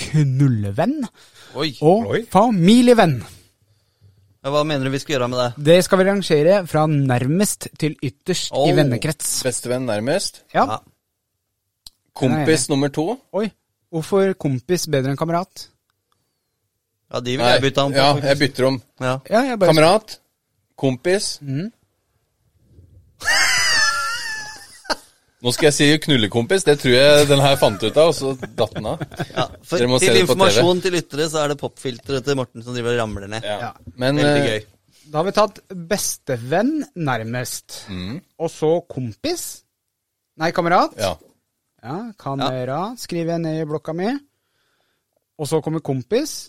knullevenn Oi. og Oi. familievenn. Ja, Hva mener du vi skal gjøre med det? Det skal vi rangere fra nærmest til ytterst i Oh. vennekrets. Bestevenn nærmest. Ja. Ja. Kompis nummer to. Oi. Hvorfor kompis bedre enn kamerat? Ja, de vil Nei, jeg bytte han på. ja, jeg faktisk. bytter om. ja. Ja, jeg bare Kamerat. Kompis. Nå skal jeg si knullekompis. Det tror jeg den her fant ut av, og så datt den av. Ja, for Dere må se til det på informasjon til lyttere så er det popfilteret til Morten som driver og ramler ned. Ja. Men Veldig eh, gøy. Da har vi tatt bestevenn nærmest. Og så kompis. Nei, kamerat. Ja. Ja, kamera skriver jeg ned i blokka mi. Og så kommer kompis.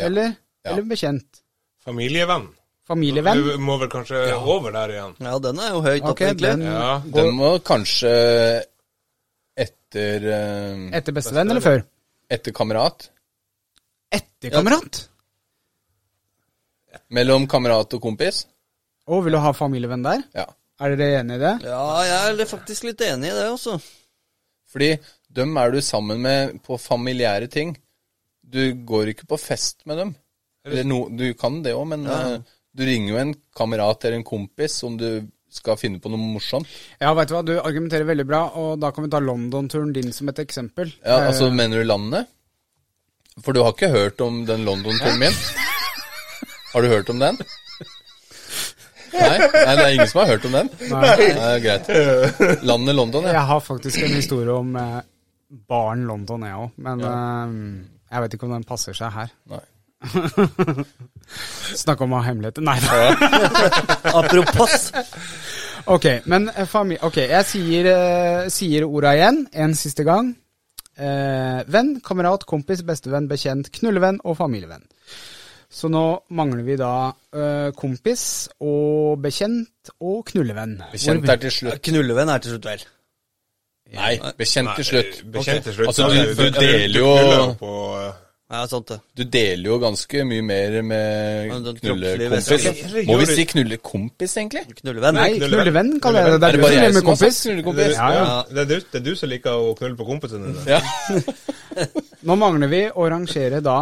Eller, Ja. eller bekjent. Familievenn. Familievenn. Du må vel kanskje over der igjen? Ja, den er jo høyt Ok, opp, egentlig. den Ja. Den går må kanskje etter eh, etter bestevenn eller før? Etter kamerat. Etter kamerat. Mellom kamerat og kompis. Å, vil du ha familievenn der? Ja. Er dere enige i det? Ja, jeg er faktisk litt enig i det også. Fordi dem er du sammen med på familiære ting. Du går ikke på fest med dem. Eller no, du kan det òg, men eh, du ringer jo en kamerat eller en kompis om du skal finne på noe morsomt. Ja, veit du hva, du argumenterer veldig bra, og da kan vi ta London-turen din som et eksempel. Eh, Ja, altså, mener du landet? For du har ikke hørt om den London-turen min? Har du hørt om den? Nei, nei, det er ingen som har hørt om den. Nei, det er greit. Landet London, ja. Jeg har faktisk en historie om eh, baren London, jeg òg, men eh, jeg vet ikke om den passer seg her. Nei. Snakke om å ha hemmeligheter. Nei da. Apropos. Ok, men eh, fami... Ok, jeg sier, eh, sier orda igjen, en siste gang. Eh, venn, kamerat, kompis, bestevenn, bekjent, knullevenn og familievenn. Så nå mangler vi da eh, kompis og bekjent og knullevenn. Bekjent er til slutt. Knullevenn er til slutt vel. Nei, bekjent til slutt. eh, Bekjent til slutt. Altså, du- du deler jo- knuller på, eh, Ja, sant det. Du deler jo ganske mye mer Men med den knullekompis. kroppslige væske- Må vi si knullekompis, egentlig? Knullevenn. Nei, knullevenn kaller jeg det. Det Er er det du som bare jeg lever med som har kompis. sagt knullekompis? Ja, ja. Ja, det, er du, det er du som liker å knulle på kompisene dine. Ja. Nå mangler vi å rangere da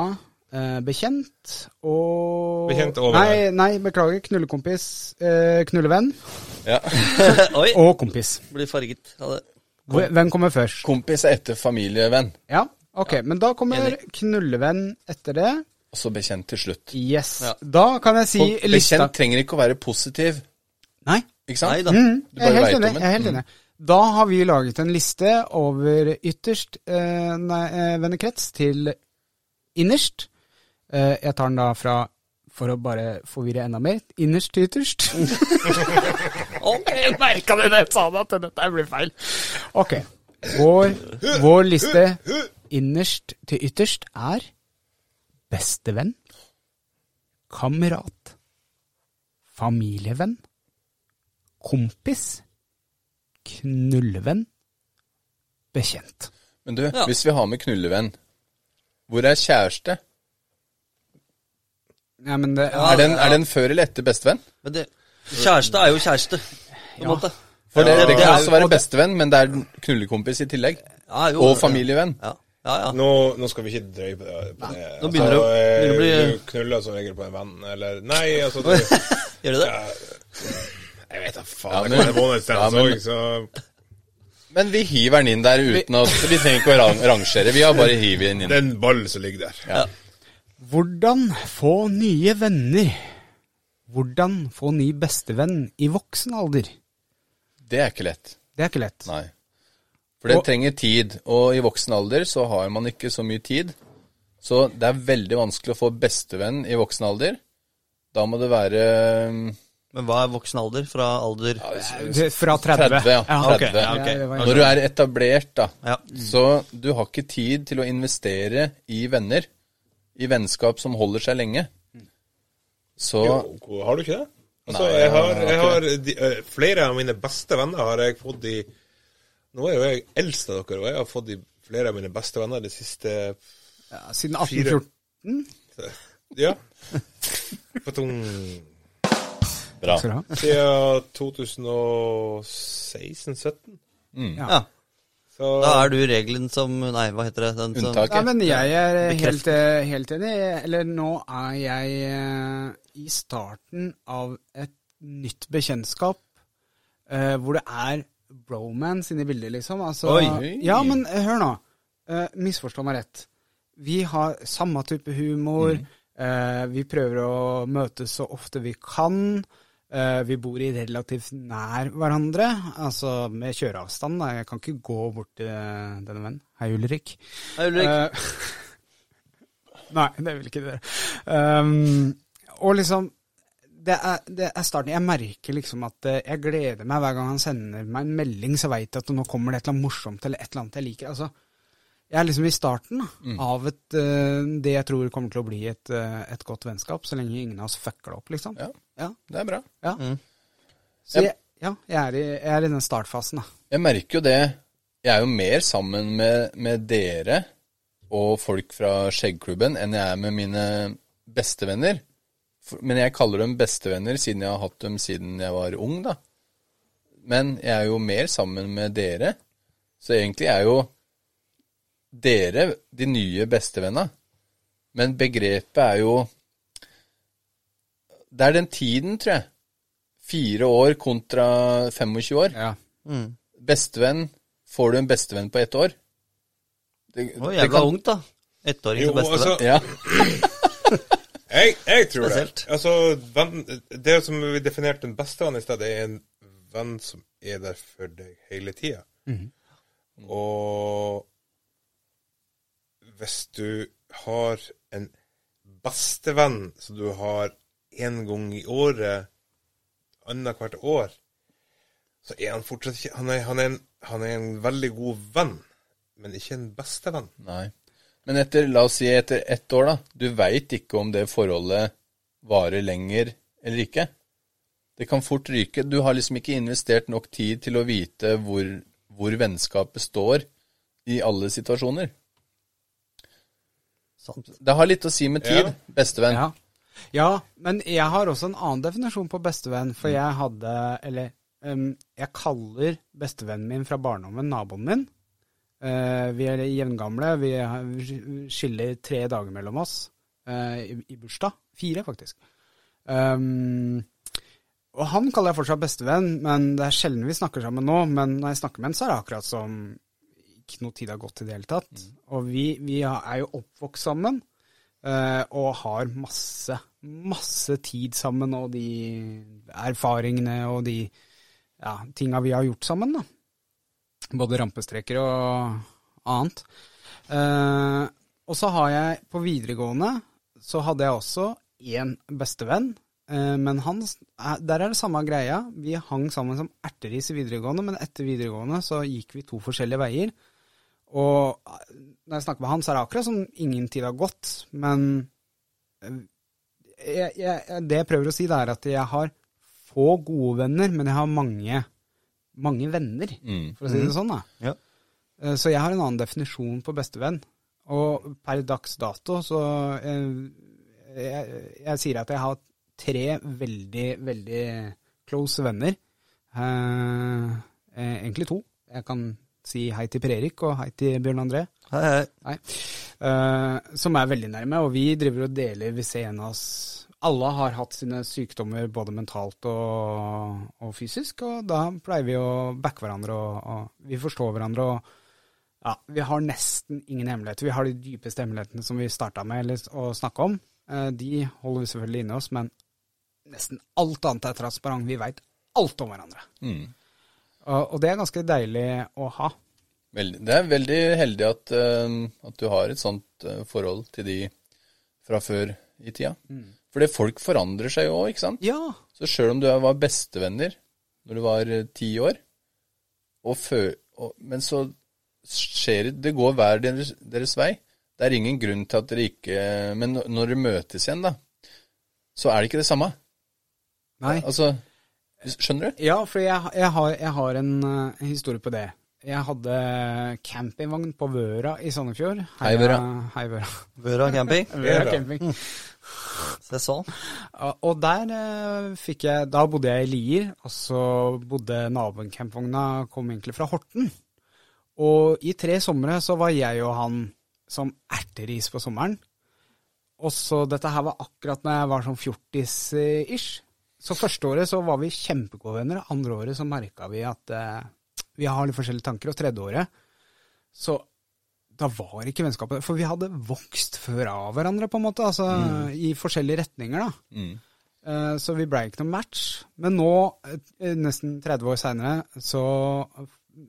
eh, bekjent og Bekjent over Nei, nei beklager. Knullekompis, eh, knullevenn ja. Oi, og kompis. blir farget av det. Hvor- Hvem kommer først? Kompis er etter familievenn. Ja, ok. Men da kommer knullevenn etter det. også bekjent til slutt. Yes. Ja. Da kan jeg si Og lista bekjent trenger ikke å være positiv, Nei. ikke Nei sant? da. Mm, Du jeg er bare helt enig. vet om Mm. Jeg den. er helt enig. Da har vi laget en liste over ytterst eh, nei, eh, vennekrets til innerst. Eh, jeg tar den da fra, for å bare forvirre enda mer, innerst til ytterst. Ok. Jeg merka det da jeg sa det, at dette blir feil. Ok. Vår, vår liste innerst til ytterst er bestevenn, kamerat, familievenn, kompis, knullevenn, bekjent. Men du, Ja. hvis vi har med knullevenn, hvor er kjæreste? Ja, men det Ja, Er den, er den før eller etter bestevenn? Men det, kjæreste er jo kjæreste, på en Ja. måte. For Ja, det, det det kan er også jo- være bestevenn, men det er knullekompis i tillegg. Ja, jo, Og familievenn. Ja, ja. ja. Nå, nå skal vi ikke drøye på det. På det. Nå begynner det å- eh, begynner det å bli- Du knuller som regel på en venn, eller Nei, altså det, Gjør du det? Jeg vet da faen. Ja, det men- kan være månedsdans Ja, men- også, så Men vi hiver den inn der uten at Vi trenger ikke å ran- rangere, vi har bare hivet den det inn. er en ball som ligger der. Hvordan få nye venner? Hvordan få ny bestevenn i voksen alder? Det er ikke lett. Det er ikke lett. Nei. For det Og- trenger tid, og i voksen alder så har man ikke så mye tid. Så det er veldig vanskelig å få bestevenn i voksen alder. Da må det være mm, Men hva er voksen alder fra alder Det- Fra 30. 30, ja. ok. 30. Ja, ok. det var- Når du er etablert, da. Ja. Så du har ikke tid til å investere i venner. I vennskap som holder seg lenge. Så Jo, har du ikke det? Altså, Nei, jeg har, jeg jeg har har de, eh, flere av mine beste venner har jeg fått i Nå er jo jeg eldst av dere, og jeg har fått i flere av mine beste venner de siste Ja, Siden 1814. Ja. Patung. bra. skal du ha. Siden 2016-2017. Ja. Så Da er du regelen som Nei, hva heter det? Den som, Unntaket. Nei, men jeg er helt, Bekreft. eh, helt enig. Eller nå er jeg eh, i starten av et nytt bekjentskap eh, hvor det er bromance inne i bildet, liksom. Altså, Oi. Ja, men eh, hør nå. Eh, misforstå meg rett. Vi har samme type humor. Eh, vi prøver å møtes så ofte vi kan. Eh, vi bor i relativt nær hverandre, altså med kjøreavstand. Da. Jeg kan ikke gå bort til eh, denne vennen. Hei, Ulrik. Nei, Ulrik. Eh, Nei, det vil ikke dere. Um, og liksom det er, det er starten. Jeg merker liksom at eh, jeg gleder meg hver gang han sender meg en melding, så veit jeg at nå kommer det et eller annet morsomt eller et eller annet jeg liker. Altså, jeg er liksom i starten da, av et, eh, det jeg tror kommer til å bli et, eh, et godt vennskap, så lenge ingen av oss fucker det opp, liksom. Ja. Ja. Det er bra. ja. Mm. Så jeg, ja, jeg er, i, jeg er i den startfasen, da. Jeg merker jo det. Jeg er jo mer sammen med, med dere og folk fra Skjeggklubben enn jeg er med mine bestevenner. For- Men jeg kaller dem bestevenner siden jeg har hatt dem siden jeg var ung, da. Men jeg er jo mer sammen med dere. Så egentlig er jo dere de nye bestevenna. Men begrepet er jo Det er den tiden, tror jeg. Fire år kontra 25 år Ja. Mm. bestevenn Får du en bestevenn på ett år? Det, Å, det jævla ungt, da. Ettåring Jo, til bestevenn. altså, Ja, Jeg, jeg tror Spesielt. det. Altså, venn, det som vi definerte en bestevenn i stedet, er en venn som er der for deg hele tida. Mhm. Og hvis du har en bestevenn som du har én gang i året, annethvert år, så er han fortsatt ikke han er, han, er en, han er en veldig god venn, men ikke en bestevenn. nei. Men etter, la oss si etter ett år, da. Du veit ikke om det forholdet varer lenger eller ikke. Det kan fort ryke. Du har liksom ikke investert nok tid til å vite hvor, hvor vennskapet står i alle situasjoner. Sant. Det har litt å si med tid, Ja. bestevenn. Ja. ja, men jeg har også en annen definisjon på bestevenn, for jeg hadde, eller em, jeg kaller bestevennen min fra barndommen naboen min. Eh, vi er jevngamle, vi har- vi skiller tre dager mellom oss eh, i, i bursdag. Fire, faktisk. Em, og han kaller jeg fortsatt bestevenn, men det er sjelden vi snakker sammen nå. Men når jeg snakker med han, så er det akkurat som ikke noe tid har gått i det hele tatt. Og vi, vi er jo oppvokst sammen. eh, og har masse, masse tid sammen, og de erfaringene og de ja, tinga vi har gjort sammen, da. Både rampestreker og annet. Eh, og så har jeg på videregående så hadde jeg også én bestevenn, eh, men han, eh, der er det samme greia. Vi hang sammen som erteris i videregående, men etter videregående så gikk vi to forskjellige veier. Og eh, når jeg snakker med han, så er det akkurat som ingen tid har gått, men eh, jeg, jeg, det jeg prøver å si, det er at jeg har få gode venner, men jeg har mange, mange venner, for å si det sånn. da. Ja. Eh, Så jeg har en annen definisjon på bestevenn. Og per dags dato så eh, jeg, jeg sier at jeg har tre veldig, veldig close venner. Eh, eh, egentlig to. Jeg kan si hei til Per Erik og hei til Bjørn André. Hei, hei. Nei. Eh, som er veldig nærme, og vi driver og deler hvis en av oss Alle har hatt sine sykdommer både mentalt og, og fysisk, og da pleier vi å backe hverandre, og, og vi forstår hverandre. og ja, Vi har nesten ingen hemmeligheter. Vi har de dypeste hemmelighetene som vi starta med eller, å snakke om. Eh, de holder vi selvfølgelig inni oss, men nesten alt annet er transparent. Vi veit alt om hverandre. Og, og det er ganske deilig å ha. Veldig, det er veldig heldig at, eh, at du har et sånt eh, forhold til de fra før i tida. Fordi folk forandrer seg jo òg, ikke sant? Ja, Så sjøl om du var bestevenner når du var eh, ti år, og før, og, men så skjer det Det går hver deres, deres vei. Det er ingen grunn til at dere ikke Men når- når dere møtes igjen, da, så er det ikke det samme. nei. Altså, skjønner du? Ja, for jeg, jeg, har, jeg har en eh, historie på det. Jeg hadde campingvogn på Vøra i Sandefjord. Hei, Vøra. Hei, Vøra. Børa camping. Vøra camping. Se sånn. Ja, Og der eh, fikk jeg Da bodde jeg i Lier, og så bodde naboen campvogna Kom egentlig fra Horten. Og i tre somre så var jeg og han som erteris på sommeren. Og så dette her var akkurat når jeg var sånn fjortis-ish. Så første året så var vi kjempegode venner. Andre året så merka vi at eh, vi har litt forskjellige tanker. Og tredje året så da var ikke vennskapet For vi hadde vokst fra hverandre, på en måte. Altså i forskjellige retninger, da. Eh, Så vi blei ikke noen match. Men nå, eh, nesten 30 år seinere, så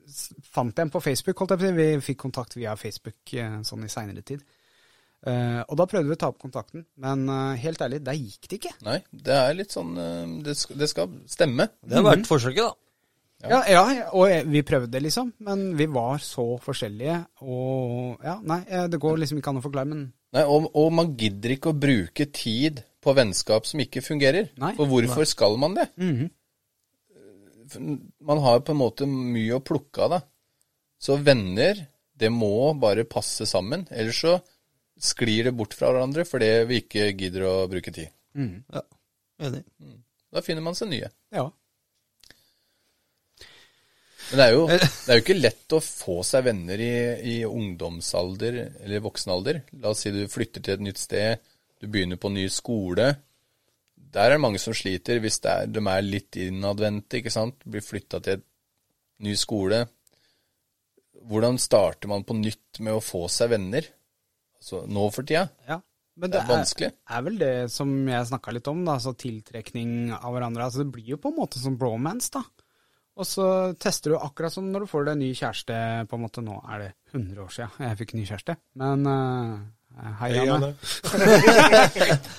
s- fant jeg en på Facebook, holdt jeg på å si. Vi fikk kontakt via Facebook eh, sånn i seinere tid. Eh, Og da prøvde vi å ta opp kontakten, men eh, helt ærlig, der gikk det ikke. Nei, det er litt sånn eh, Det skal, det skal stemme. Det har vært forsøket, da. Ja, ja, og jeg- vi prøvde, liksom, men vi var så forskjellige, og ja, nei, eh, det går liksom ikke an å forklare, men Nei, og, og man gidder ikke å bruke tid på vennskap som ikke fungerer. Nei. Mhm. For hvorfor skal man det? For Man har på en måte mye å plukke av, da. Så venner, det må bare passe sammen. Ellers så sklir det bort fra hverandre fordi vi ikke gidder å bruke tid. Ja. Enig. Da finner man seg nye. ja. Men det er jo, det er jo ikke lett å få seg venner i, i ungdomsalder eller voksen alder. La oss si du flytter til et nytt sted, du begynner på en ny skole. Der er det mange som sliter hvis det er, de er litt innadvendte, ikke sant. Blir flytta til en ny skole. Hvordan starter man på nytt med å få seg venner? Altså nå for tida? Ja. Men Det det er er, vanskelig. er vel det som jeg snakka litt om, da, altså tiltrekning av hverandre. Altså Det blir jo på en måte som bromance, da. Og så tester du akkurat som når du får deg ny kjæreste, på en måte. Nå er det 100 år siden jeg fikk ny kjæreste, men eh, Hei, Hei, Janne. Janne.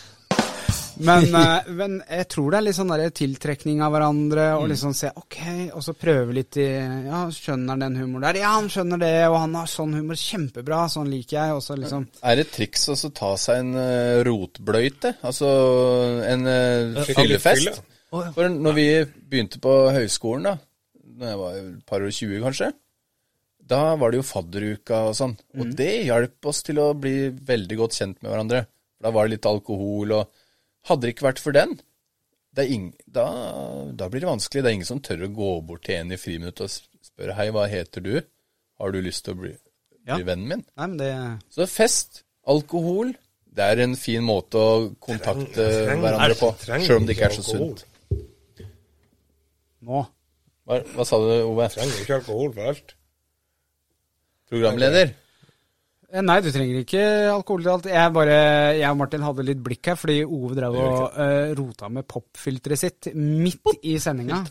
Men, eh, men jeg tror det er litt sånn der tiltrekning av hverandre, og liksom se ok, og så prøve litt i Ja, skjønner han den humoren der? Ja, han skjønner det, og han har sånn humor. Kjempebra, sånn liker jeg. Og så liksom Er det et triks å så ta seg en eh, rotbløyte? Altså en eh, fylle. fyllefest? Å, ja. For når vi begynte på høyskolen, da når jeg var et par og tjue, kanskje, da var det jo fadderuka og sånn. Mm. Og det hjalp oss til å bli veldig godt kjent med hverandre. For da var det litt alkohol og Hadde det ikke vært for den, det er ing... da, da blir det vanskelig. Det er ingen som tør å gå bort til en i friminuttet og spørre Hei, hva heter du? Har du lyst til å bli, Ja. bli vennen min? Nei, men det Så fest, alkohol, det er en fin måte å kontakte eh, hverandre på. trenger Sjøl om det ikke er så alkohol. sunt. Nå. Hva, hva sa du, Ove? Trenger ikke alkohol for alt. Programleder? Eh, Nei, du trenger ikke alkohol til alt. Jeg, bare, jeg og Martin hadde litt blikk her, fordi Ove drev og eh, rota med popfilteret sitt midt i sendinga.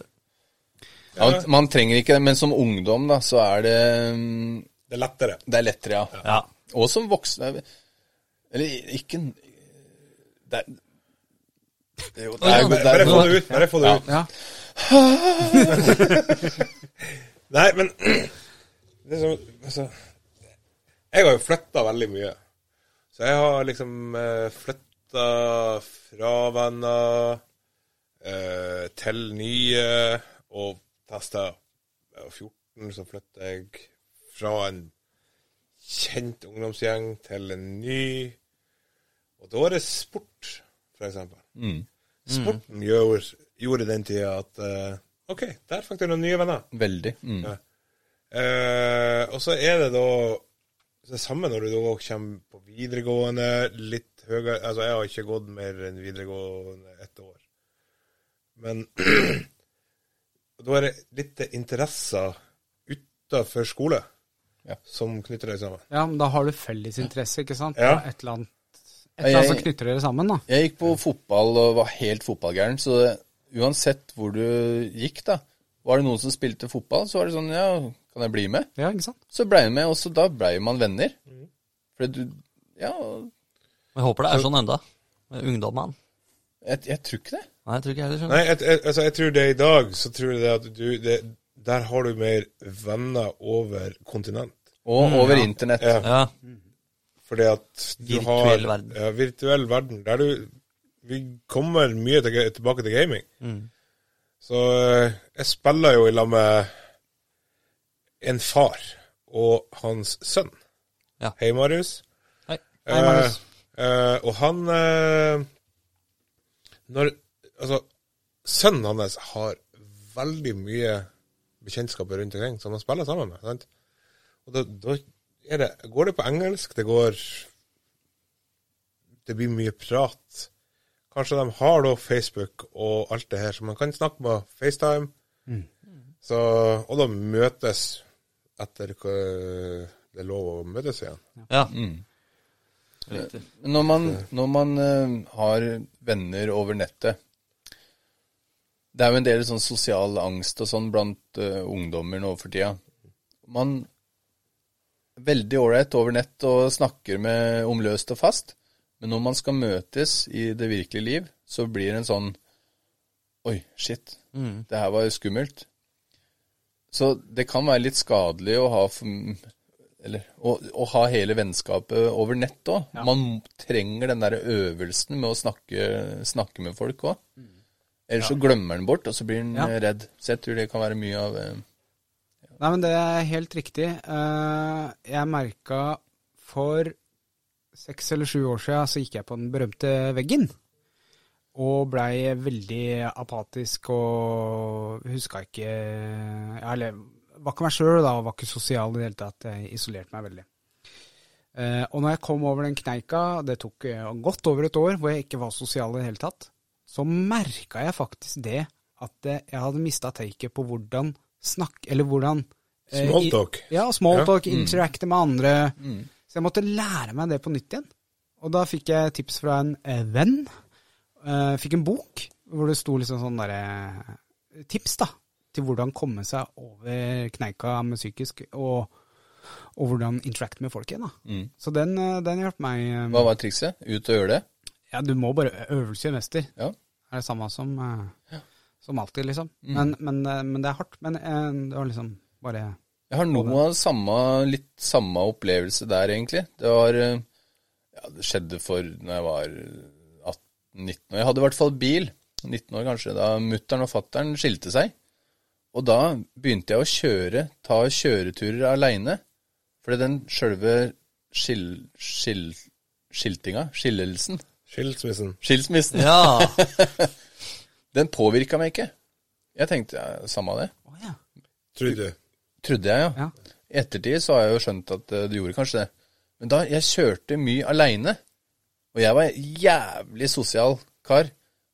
Ja, man- man trenger ikke det, men som ungdom da, så er det, mm, Det er lettere. det er lettere, ja. Ja. Og som voksne Eller ikke Det er, det er jo det er, det er, Bare få det ut. Bare få det Ja. ut. Ja. Nei, men det er sånn, altså, Jeg har jo flytta veldig mye. Så jeg har liksom eh, flytta fra venner eh, til nye, og testa 14, så flytta jeg fra en kjent ungdomsgjeng til en ny. Og da er det sport, for eksempel. Mm, Sporten gjør, gjorde den tida at eh, OK, der fikk du noen nye venner. Veldig. Mm. Ja. Eh, og så er det da det samme når du da kommer på videregående litt høyere Altså, jeg har ikke gått mer enn videregående ett år. Men da er det litt interesser utafor skole Ja. som knytter deg sammen. ja, men da har du felles interesse, ikke sant? Det Ja. er Et eller annet, et eller annet som knytter dere sammen, da. Jeg gikk på fotball og var helt fotballgæren, så det, uansett hvor du gikk, da Var det noen som spilte fotball, så var det sånn Ja, kan jeg bli med? Ja, ikke sant? Så blei jeg med, og så da blei man venner. For du Ja, Jeg håper det er sånn enda. Med ungdommene. jeg, jeg tror ikke det. Nei, jeg tror ikke jeg heller. skjønner. Nei, jeg, jeg, altså, jeg tror det i dag, så tror jeg det at du det, Der har du mer venner over kontinent. Og over internett. Ja. Ja. Fordi at du Virtuell har, verden. Ja, virtuell verden. Der du Vi kommer mye til, tilbake til gaming. Mm. Så eh, jeg spiller jo i lag med en far og hans sønn. Ja. Hei, Marius. Hei. Hei, Marius. Eh, eh, og han eh, Når Altså, sønnen hans har veldig mye bekjentskaper rundt omkring som han spiller sammen med. sant? Og da, da er det, går det på engelsk. Det går Det blir mye prat. Kanskje de har da Facebook og alt det her, så man kan snakke med FaceTime. Mm. Så, og da møtes etter hva det er lov å møtes igjen. Ja. Mm. Når man, når man eh, har venner over nettet Det er jo en del sånn sosial angst og sånn blant eh, ungdommer nå for tida. Man er veldig ålreit over nett og snakker med om løst og fast, men når man skal møtes i det virkelige liv, så blir det en sånn Oi, shit. Det her var jo skummelt. Så det kan være litt skadelig å ha for, eller, å, å ha hele vennskapet over nett òg. Man trenger den der øvelsen med å snakke, snakke med folk òg. Ellers så glemmer den bort, og så blir den Ja. eh, redd. Så jeg tror det kan være mye av eh, Nei, men det er helt riktig. Eh, Jeg merka for seks eller sju år siden så gikk jeg på den berømte veggen. Og blei veldig apatisk og huska ikke ja, Eller var ikke meg sjøl da, og var ikke sosial i det hele tatt. Jeg isolerte meg veldig. Eh, og når jeg kom over den kneika, det tok eh, godt over et år hvor jeg ikke var sosial i det hele tatt, så merka jeg faktisk det at eh, jeg hadde mista taket på hvordan snakk... Eller hvordan eh, i- Smalltalk. Ja, smalltalk, Mm. interacte med andre. Så jeg måtte lære meg det på nytt igjen. Og da fikk jeg tips fra en eh, venn. Eh, fikk en bok hvor det sto liksom sånn derre eh, tips da, til hvordan komme seg over kneika med psykisk, og, og hvordan interacte med folk igjen. da. Så den, eh, den hjalp meg. eh, Mm. Hva var trikset? Ut og gjøre det? Ja, du må bare ø- øvelse gjør mester. Ja. Det er det samme som, eh, som alltid, liksom. Mm. Men, men, eh, men det er hardt. Men eh, det var liksom bare Jeg har noe av samme, litt samme opplevelse der, egentlig. Det var eh, Ja, det skjedde for når jeg var 18-19 år. Jeg hadde i hvert fall bil, 19 år kanskje, da mutter'n og fatter'n skilte seg. Og da begynte jeg å kjøre, ta kjøreturer aleine. Fordi den sjølve skil, skil, skiltinga, skillelsen, Skilsmissen. skilsmissen, ja. den påvirka meg ikke. Jeg tenkte ja, samme av det. Å ja. Tror du? Trodde jeg, ja. Ja. I ettertid så har jeg jo skjønt at eh, du gjorde kanskje det. Men da, jeg kjørte mye aleine. Og jeg var jævlig sosial kar.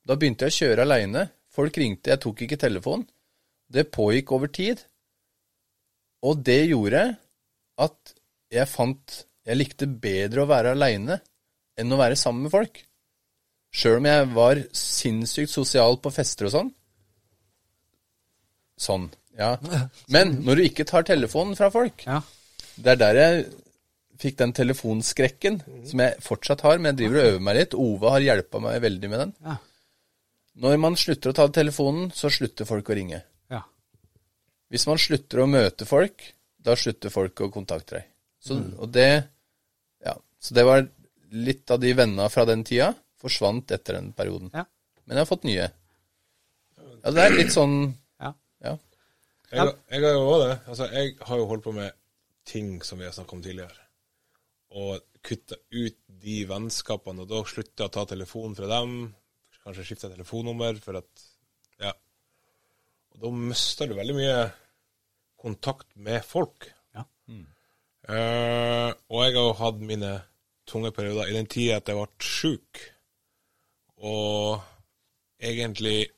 Da begynte jeg å kjøre aleine. Folk ringte, jeg tok ikke telefonen. Det pågikk over tid. Og det gjorde at jeg fant Jeg likte bedre å være aleine enn å være sammen med folk. Sjøl om jeg var sinnssykt sosial på fester og sånn. Sånn, ja. Men når du ikke tar telefonen fra folk, Ja. det er der jeg fikk den telefonskrekken, som jeg fortsatt har, men jeg driver og øver meg litt. Ove har hjelpa meg veldig med den. Ja. Når man slutter å ta telefonen, så slutter folk å ringe. Ja. Hvis man slutter å møte folk, da slutter folk å kontakte deg. Så, og det, ja, så det var litt av de vennene fra den tida forsvant etter den perioden. Ja. Men jeg har fått nye. Ja, det er litt sånn Ja. ja. Jeg, jeg har jo òg det. Altså, jeg har jo holdt på med ting som vi har snakka om tidligere. Og kutta ut de vennskapene, og da slutta jeg å ta telefonen fra dem. Kanskje skifta telefonnummer for at Ja. Og da mister du veldig mye kontakt med folk. Ja. Eh, og jeg har jo hatt mine tunge perioder i den tida at jeg ble sjuk. Og egentlig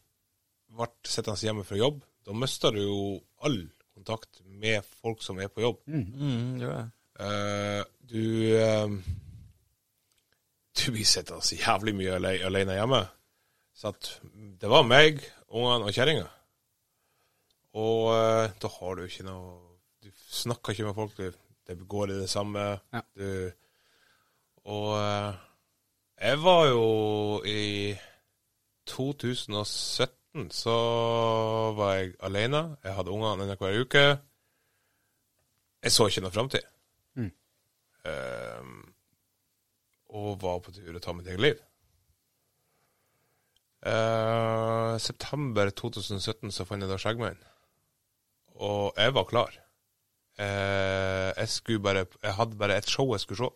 ble sittende hjemme fra jobb, da mister du jo all kontakt med folk som er på jobb. Mm, gjør det. Eh, du eh, Du blir sittende så jævlig mye ale alene hjemme. Så at det var meg, ungene og kjerringa. Og eh, da har du ikke noe Du snakker ikke med folk. Du, det går i det samme. Ja. Du Og eh, jeg var jo i 2017 så var jeg alene. Jeg hadde ungene annenhver uke. Jeg så ikke noe framtid. Ehm, og var på tur å ta mitt eget liv. Eh, september 2017 så fant jeg da skjeggmenn. Og jeg var klar. Eh, jeg skulle bare Jeg hadde bare et show jeg skulle se.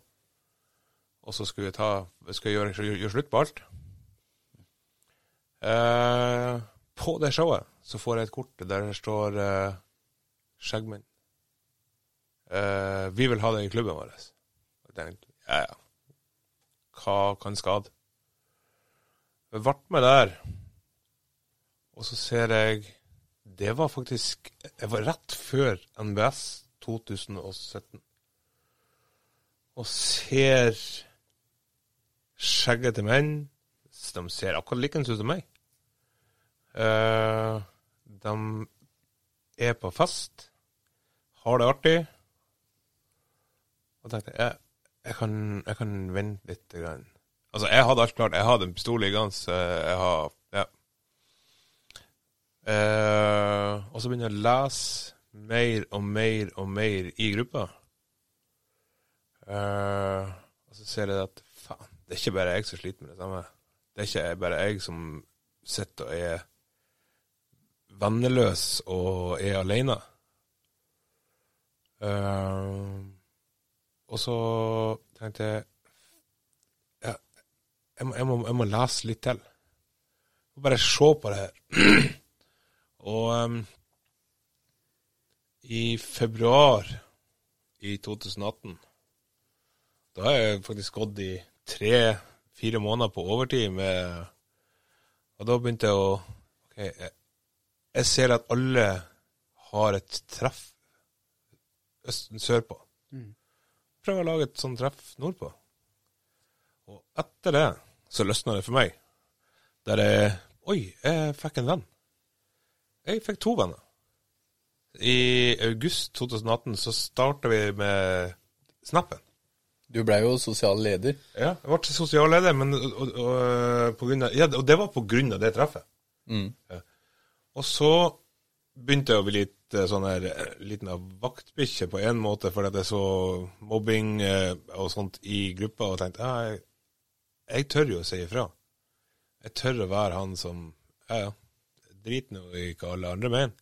Og så skulle jeg ta Skulle jeg gjøre, gjøre, gjøre slutt på alt. Eh, på det showet så får jeg et kort der det står eh, skjeggmenn. Eh, vi vil ha deg i klubben vår. Og jeg tenkte, ja, ja. Hva kan skade? Jeg ble med der, og så ser jeg Det var faktisk Jeg var rett før NBS 2017. Og ser skjeggete menn. De ser akkurat likens ut som meg. Eh, de er på fest, har det artig. Og tenkte jeg, jeg kan, jeg kan vente litt. Grann. Altså, jeg hadde alt klart. Jeg hadde en pistol liggende. så Jeg har Ja. Eh, og så begynner jeg å lese mer og mer og mer i gruppa. Eh, og så ser jeg at faen, det er ikke bare jeg som sliter med det samme. Det er ikke bare jeg som sitter og er venneløs og er alene. Eh, og så tenkte jeg ja, jeg, må, jeg, må, jeg må lese litt til. Jeg må Bare se på det her. Og em, i februar i 2018 Da har jeg faktisk gått i tre-fire måneder på overtid med Og da begynte jeg å Ok, jeg, jeg ser at alle har et treff østen sørpå prøve å lage et sånt treff nordpå. Og etter det så løsna det for meg. Der jeg Oi, jeg fikk en venn. Jeg fikk to venner. I august 2018 så starta vi med Snappen. Du blei jo sosial leder. Ja, jeg ble sosial leder, men og, og, og, på grunn av, ja, og det var på grunn av det treffet. Ja. Og så begynte jeg å bli litt eh, sånn her eh, liten av vaktbikkje på en måte, fordi at jeg så mobbing eh, og sånt i gruppa, og tenkte ja, jeg, jeg tør jo å si ifra. Jeg tør å være han som ja, ja, drit nå i hva alle andre mener.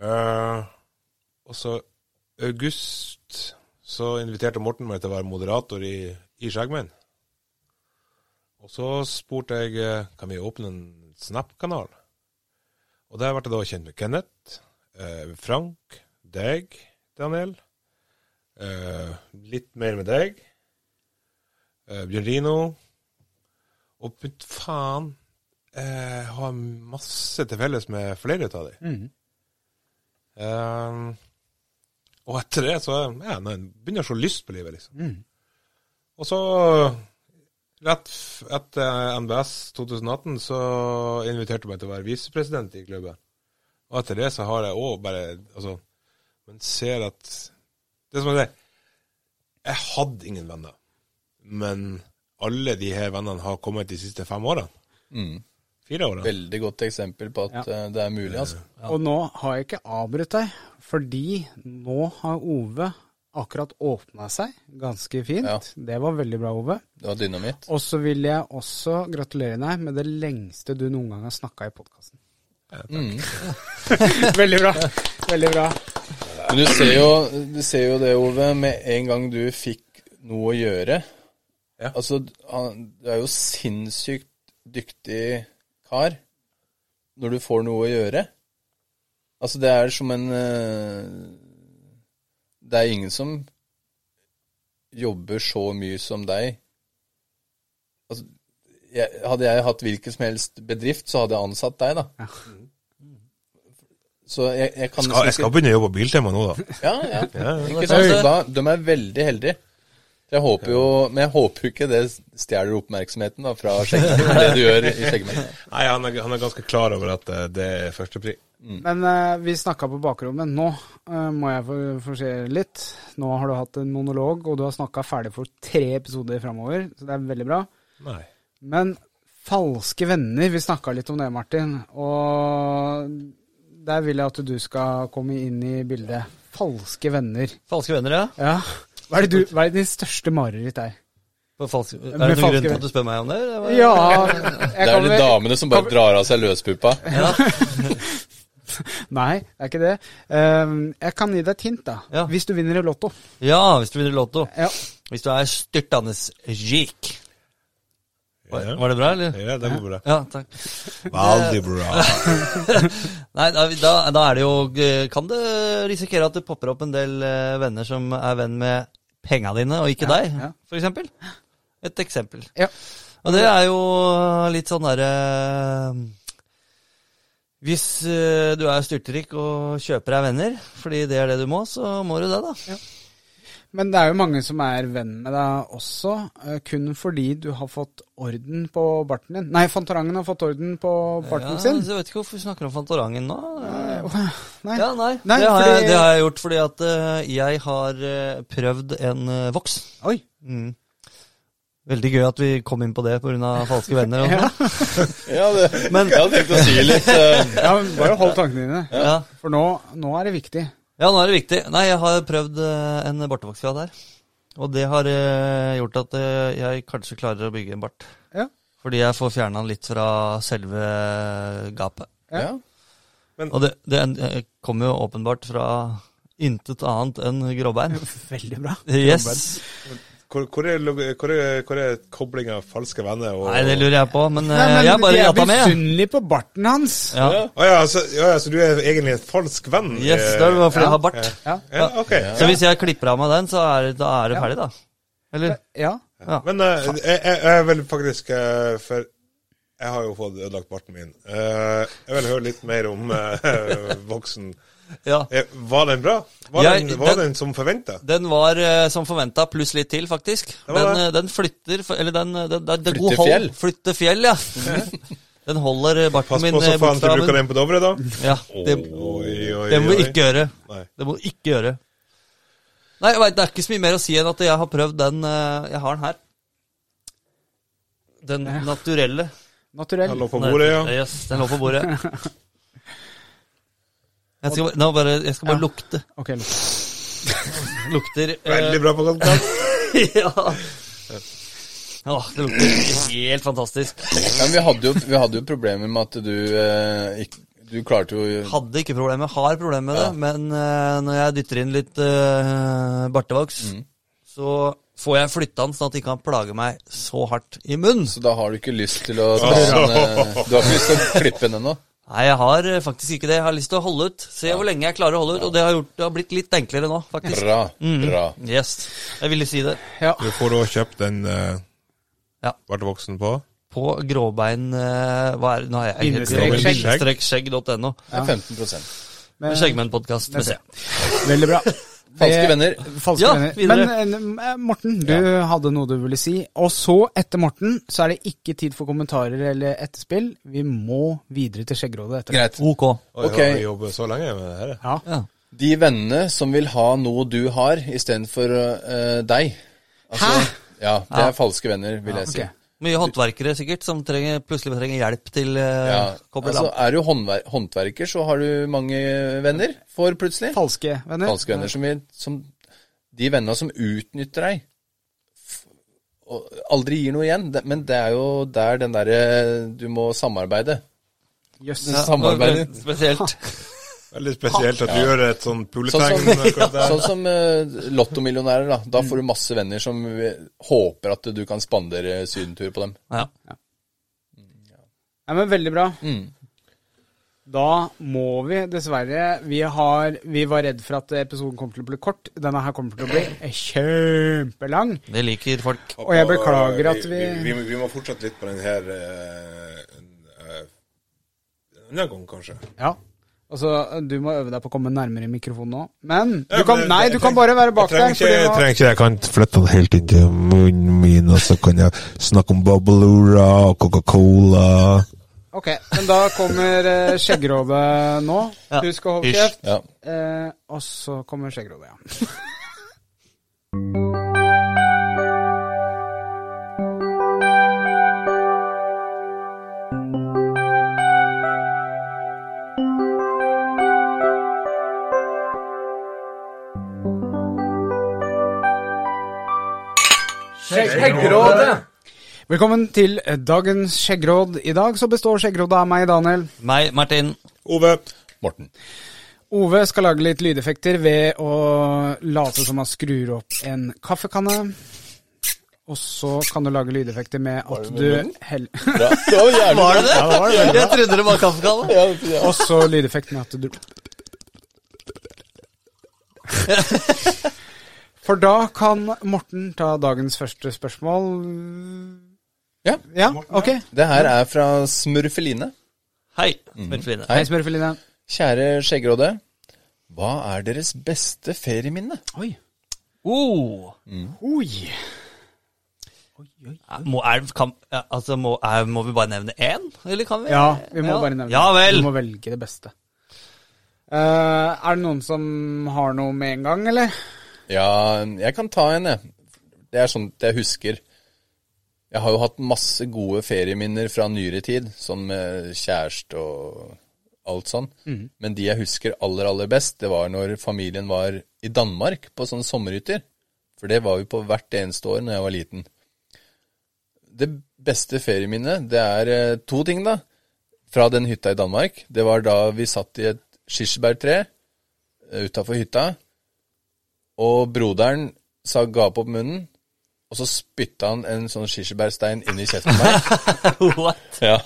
Eh, og så august så inviterte Morten meg til å være moderator i, i Skjeggmenn. Og så spurte jeg eh, kan vi åpne en Snap-kanal. Og der ble jeg da kjent med Kenneth, eh, Frank, deg, Daniel. Eh, litt mer med deg. Eh, Bjørn Rino. Og putt faen, eh, jeg har masse til felles med flere av dem. Eh, Ehm, Og etter det så ja, nei, begynner jeg å se lyst på livet, liksom. Og så, rett f- etter NBS 2018, så inviterte hun meg til å være visepresident i klubben. Og etter det så har jeg òg bare Altså, man ser at Det som er det Jeg hadde ingen venner, men alle de her vennene har kommet de siste fem årene. Fire årene. Veldig godt eksempel på at eh, det er mulig, altså. Og nå har jeg ikke avbrutt deg, fordi nå har Ove akkurat åpna seg ganske fint. Ja. Det var veldig bra, Ove. Det var dynamitt. Og så vil jeg også gratulere deg med det lengste du noen gang har snakka i podkasten. veldig bra. Veldig bra. Men du ser, jo, du ser jo det, Ove, med en gang du fikk noe å gjøre. Ja. Altså, han, du er jo sinnssykt dyktig kar når du får noe å gjøre. Altså, det er som en eh, Det er ingen som jobber så mye som deg. Altså, jeg, hadde jeg hatt hvilken som helst bedrift, så hadde jeg ansatt deg, da. Så jeg, jeg kan Skal, jeg skal begynne å jobbe på Biltema nå, da. ja, ja. Ikke sant? sant? Da, de er veldig heldige. Jeg håper jo, men jeg håper jo ikke det stjeler oppmerksomheten da, fra skjegget, det du gjør i skjegget. Nei, han er, han er ganske klar over at eh, det er førstepri. Men eh, vi snakka på bakrommet. Nå eh, må jeg få- få se litt. Nå har du hatt en monolog, og du har snakka ferdig for tre episoder framover, så det er veldig bra. Nei. Men falske venner, vi snakka litt om det, Martin. Og der vil jeg at du skal komme inn i bildet. Falske venner. Falske venner, ja. Ja. Hva er det, du, hva er det din største mareritt er? På falske, er det Med noen falske grunn til venner. at du spør meg om det? eller hva? Ja Det er de damene som bare drar av seg løspuppa. Nei, det er ikke det. Ehm, jeg kan gi deg et hint, da. Ja. Hvis du vinner i Lotto. ja, hvis du vinner Lotto. Ja. Hvis du er styrtende rik. Var, var det bra, eller? Ja, det går bra. Ja, takk. Veldig bra. Nei, da, da, da er det jo eh, Kan det risikere at det popper opp en del eh, venner som er venn med penga dine, og ikke deg, ja. for eksempel? Et eksempel. Ja. Og det er jo litt sånn derre Hvis eh, du er styrtrik og kjøper deg venner, fordi det er det du må, så må du det, da. Men det er jo mange som er venn med deg også, eh, kun fordi du har fått orden på barten din. Nei, Fantorangen har fått orden på barten Ja, sin. så Jeg vet ikke hvorfor vi snakker om Fantorangen nå. Eh, åh, Nei. Ja, nei, Nei, det, har fordi- jeg, det har jeg gjort fordi at eh, jeg har eh, prøvd en eh, voks. Oi. Mm. Veldig gøy at vi kom inn på det pga. falske venner. Og sånt. Ja, det, Men- jeg hadde tenkt å si litt eh, Ja, men bare hold tankene dine. ja. For nå, nå er det viktig. ja, nå er det viktig. Nei, jeg har prøvd eh, en bartevoks vi hadde her. Og det har eh, gjort at eh, jeg kanskje klarer å bygge en bart. Ja. Fordi jeg får fjerna den litt fra selve eh, gapet. ja. Og det, det eh, kommer jo åpenbart fra intet annet enn gråbein. Veldig bra. Yes. Hvor, hvor, er, log- hvor, er, hvor er koblingen falske venner og Nei, det lurer jeg på, men, Nei, men eh, jeg bare de er gjetta med. misunnelige på barten hans. Ja. Å ja, så, ja, ja, så du er egentlig en falsk venn? Yes, eh, det er bare fordi jeg har bart. Ja. Ja, ok. Så hvis jeg klipper av meg den, så er, det- da er det ferdig, da. Eller? ja. Ja. Men eh, jeg, jeg, jeg vil faktisk eh, For jeg har jo fått ødelagt barten min. Eh, jeg vil høre litt mer om eh, voksen. ja. Eh, var den bra? Var, Jeg- den, var den- den, som forventa? Den var eh, som forventa, pluss litt til, faktisk. var Den, det. eh, den flytter f- Eller den, eh, den, den, den Flytter god hold. fjell. Flytter fjell, ja. Den holder eh, barten Pass min på så eh, faen bort til fra du bruker munnen. den på Dovre, da. Ja, det, Oi, oi, det må du oi. ikke gjøre. Nei. Det må du ikke gjøre. Nei, jeg vet, det er ikke så mye mer å si enn at jeg har prøvd den eh, Jeg har den her. Den naturelle. Den Naturell. lå på bordet, ja. Yes, den lå på bordet. Jeg skal bare, nå bare, jeg skal bare lukte. Ok, Lotto. Lukter eh, Veldig bra på kontakt. ja. Åh, det lukter helt fantastisk. Ja, men vi hadde, jo, vi hadde jo problemer med at du eh, ikke, Du klarte jo Hadde ikke problemer, har problemer med det, men eh, når jeg dytter inn litt eh, bartevoks, så får jeg flytta den sånn at de ikke kan plage meg så hardt i munnen. Så da har du ikke lyst til å ta den eh, Du har ikke lyst til å klippe den ennå? Nei, jeg har eh, faktisk ikke det. Jeg har lyst til å holde ut. Se hvor lenge jeg klarer å holde ut, og det har, gjort, det har blitt litt enklere nå, faktisk. Bra. Bra. Yes, jeg ville si det. Ja. Du får da kjøpt den eh, Ja. Ble voksen på? På gråbein eh, Hva er det? Nå har jeg Bindestrek skjegg. Bindestrekskjegg.no. Det er 15 Eh, Skjeggmennpodkast med C. Veldig bra. Falske venner. Falske Ja, venner. videre. Men eh, Morten, du hadde noe du ville si. Og så, etter Morten, så er det ikke tid for kommentarer eller etterspill. Vi må videre til Skjeggrådet etter Greit. Ok. Oi, Ok. har vi jobbet så lenge med det her? Ja. Ja. De vennene som vil ha noe du har, istedenfor uh, deg. Hæ? Ja, det er falske venner, vil jeg Ok. si. Mye håndverkere sikkert, som trenger, plutselig trenger hjelp til eh, Ja, koble altså lamp. Er du håndver håndverker, så har du mange venner for plutselig. Falske venner. Falske venner som, vil, som De vennene som utnytter deg, f- og aldri gir noe igjen. Det- Men det er jo der den derre Du må samarbeide. Jøss. Ja. samarbeidet. Ja, Spesielt. Veldig spesielt at du gjør et sånn Sånn puletegn. som, akkurat der. sånn som eh, lottomillionærer, da. Da får du masse venner som eh, håper at du kan spandere sydentur på dem. Ja. Ja, men veldig bra. Da må vi dessverre Vi, har, vi var redd for at episoden kom til å bli kort. Denne her kommer til å bli kjempelang. Det liker folk. Og jeg beklager at vi, Vi, vi, vi må fortsette litt på den her eh, eh, En annen gang, kanskje. Ja. Altså, du må øve deg på å komme nærmere mikrofonen nå. Men du Ja, kan, men nei, jeg du trenger- kan bare være bak jeg trenger der. Ikke, jeg fordi nå- trenger ikke det. Jeg kan flytte det helt inn til munnen min, og så kan jeg snakke om Babalura og Coca-Cola. Ok, men da kommer eh, skjeggrådet nå. Ja. Du skal holde Ish. kjeft. Ja. Eh, og så kommer skjeggrådet, ja. Velkommen til eh, dagens skjeggråd. I dag så består skjeggrådet av meg, Daniel. Meg, Martin. Ove. Morten. Ove skal lage litt lydeffekter ved å late som han skrur opp en kaffekanne. Og så kan du lage lydeffekter med at du heller Bra. Det var jævlig Var det bra. det? Jeg trodde det var kaffekalle. Ja, ja. Og så lydeffekt med at du For da kan Morten ta dagens første spørsmål. Ja. Ja, ok. Det her er fra Smurfeline. Mm. Hei, Smurfeline. Hei, smørfeline. Kjære Skjeggråde. Hva er deres beste ferieminne? Oi. Oh. Oi. Ja, Må, er, kan, ja, altså, må, er, må vi bare nevne én, eller kan vi? Ja, vi må bare nevne Ja vel! Vi må velge det beste. Eh, er det noen som har noe med en gang, eller? Ja, jeg kan ta en, jeg. Det er sånt jeg husker. Jeg har jo hatt masse gode ferieminner fra nyere tid, sånn med kjæreste og alt sånn. Men de jeg husker aller, aller best, det var når familien var i Danmark på sånn sommerhytter. For det var vi på hvert eneste år når jeg var liten. Det beste ferieminnet, det er eh, to ting, da. Fra den hytta i Danmark. Det var da vi satt i et kirsebærtre utafor hytta. Og broderen sa gap opp munnen, og så spytta han en sånn kirsebærstein inn i kjeften på meg. What? ja.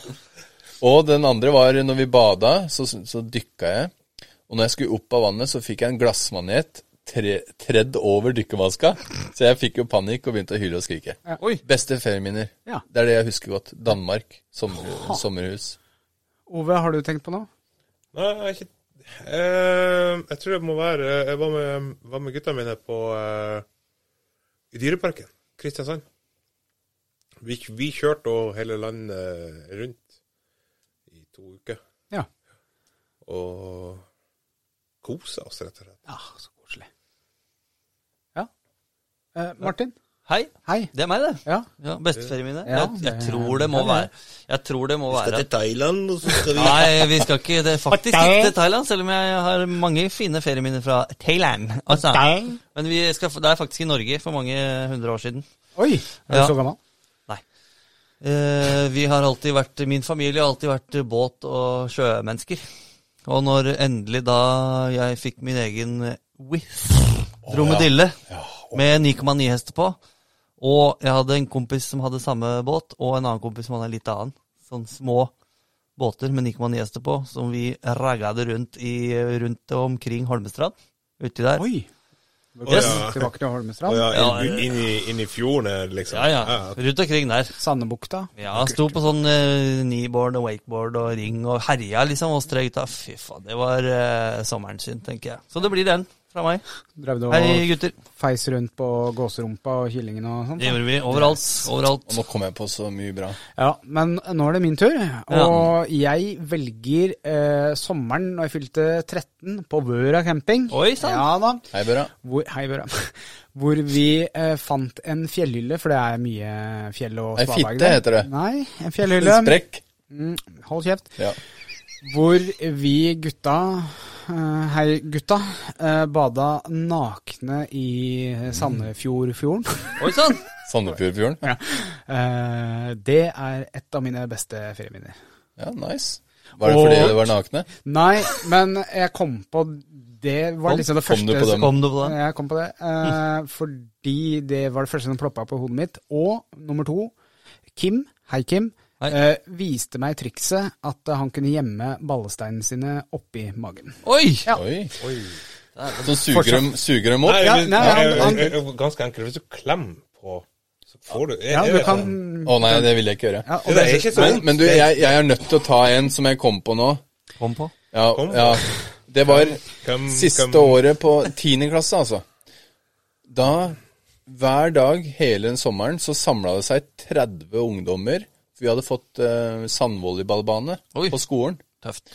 Og den andre var når vi bada, så, så dykka jeg. Og når jeg skulle opp av vannet, så fikk jeg en glassmanet tre, tredd over dykkermaska. Så jeg fikk jo panikk og begynte å hyle og skrike. Oi. Beste ferieminner. Ja. Det er det jeg husker godt. Danmark. Sommer, sommerhus. Ove, har du tenkt på noe? Nei, jeg har ikke eh, Jeg tror det må være eh, Jeg var med, var med gutta mine på eh, I Dyreparken, Kristiansand. Vi, vi kjørte og hele landet rundt i to uker. Ja. Og kosa oss, rett og slett. Ah, Ja, så koselig. Ja. Eh, Martin? Hei. Hei. Det er meg, det. Ja. Ja, Besteferiemine. Ja, jeg, jeg tror det må være Jeg tror det må være Thailand, og så skal Nei, vi skal ikke det er faktisk ikke til Thailand, selv om jeg har mange fine ferieminner fra Thailand. Altså. Men vi skal, det er faktisk i Norge for mange hundre år siden. Oi, er du Ja. så gammel? Eh, vi har alltid vært, Min familie har alltid vært båt- og sjømennesker. Og når endelig da jeg fikk min egen Whiff dromedille med 9,9 hester på, og jeg hadde en kompis som hadde samme båt, og en annen kompis som hadde en litt annen, sånn små båter med 9,9 hester på, som vi ragget rundt, i, rundt og omkring Holmestrand, uti der. Oi. Yes. Tilbake til Holmestrand. Å ja, Ja, inn, inn, i, inn i fjorden, her, liksom. Ja, ja, rundt omkring der. Sandebukta. Ja, han sto på sånn eh, kneeboard og wakeboard og ring og herja liksom og strøyta. Fy faen, det var eh, sommeren sin, tenker jeg. Så det blir den. fra meg. Drev du og Hei, gutter. feis rundt på gåserumpa og kyllingen og sånt? Det gjorde vi overalt. Og Overalt. nå kom jeg på så mye bra. Ja, men nå er det min tur. Og jeg velger eh, sommeren når jeg fylte 13 på Vøra camping. Oi, sant. Ja da. Hei, Børra. Hvor, hei, Vøra. Hvor vi eh, fant en fjellhylle, for det er mye fjell og Ei svaberg fitte der. heter det. Nei, en En fjellhylle. sprekk. Mm, hold kjeft. Ja. Hvor vi gutta, eh, hei gutta, eh, bada nakne i Sandefjordfjorden. Oi sånn! sann! Sandefjordfjorden. ja. Eh, det er et av mine beste ferieminner. Ja, nice. Var det fordi Og- det var nakne? Nei, men jeg kom på det var Kom- liksom det kom første du på som- dem? Kom du på det? Jeg kom på det eh, fordi det var det første som ploppa på hodet mitt. Og nummer to, Kim, hei Kim, Hei. eh, viste meg trikset at han kunne gjemme ballesteinene sine oppi magen. Oi! Oi. Oi. Så suger dem, suger dem Nei, opp? Ja, men- nei, nei, han- jeg- jeg- jeg- ganske enkelt. Hvis du klemmer på, så får du Ja, jeg du vet det. kan Å nei, det vil jeg ikke gjøre. ja, Det er ikke så Men, vondt. men du, jeg, jeg er nødt til å ta en som jeg kom på nå. Kom på. Ja, Kom. ja. Det var Hvem- siste hvem- året på tiende klasse, altså. Da, hver dag hele den sommeren, så samla det seg 30 ungdommer. Vi hadde fått eh, sandvolleyballbane Oi. på skolen. Tøft.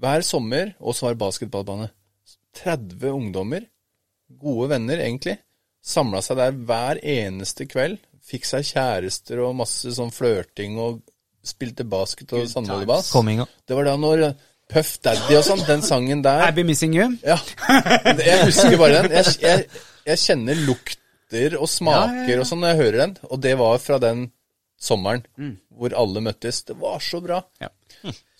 Hver sommer, og så var det basketballbane. 30 ungdommer, gode venner egentlig, samla seg der hver eneste kveld. Fikk seg kjærester og masse sånn flørting og spilte basket og sandvolleyball. Komminga. Det var da når Puff Daddy og sånn, den sangen der Abby Missing You. ja. Jeg husker bare den. Jeg, jeg, jeg kjenner lukter og smaker og sånn når jeg hører den. Og det var fra den sommeren hvor alle møttes. Det var så bra. Mm. Ja.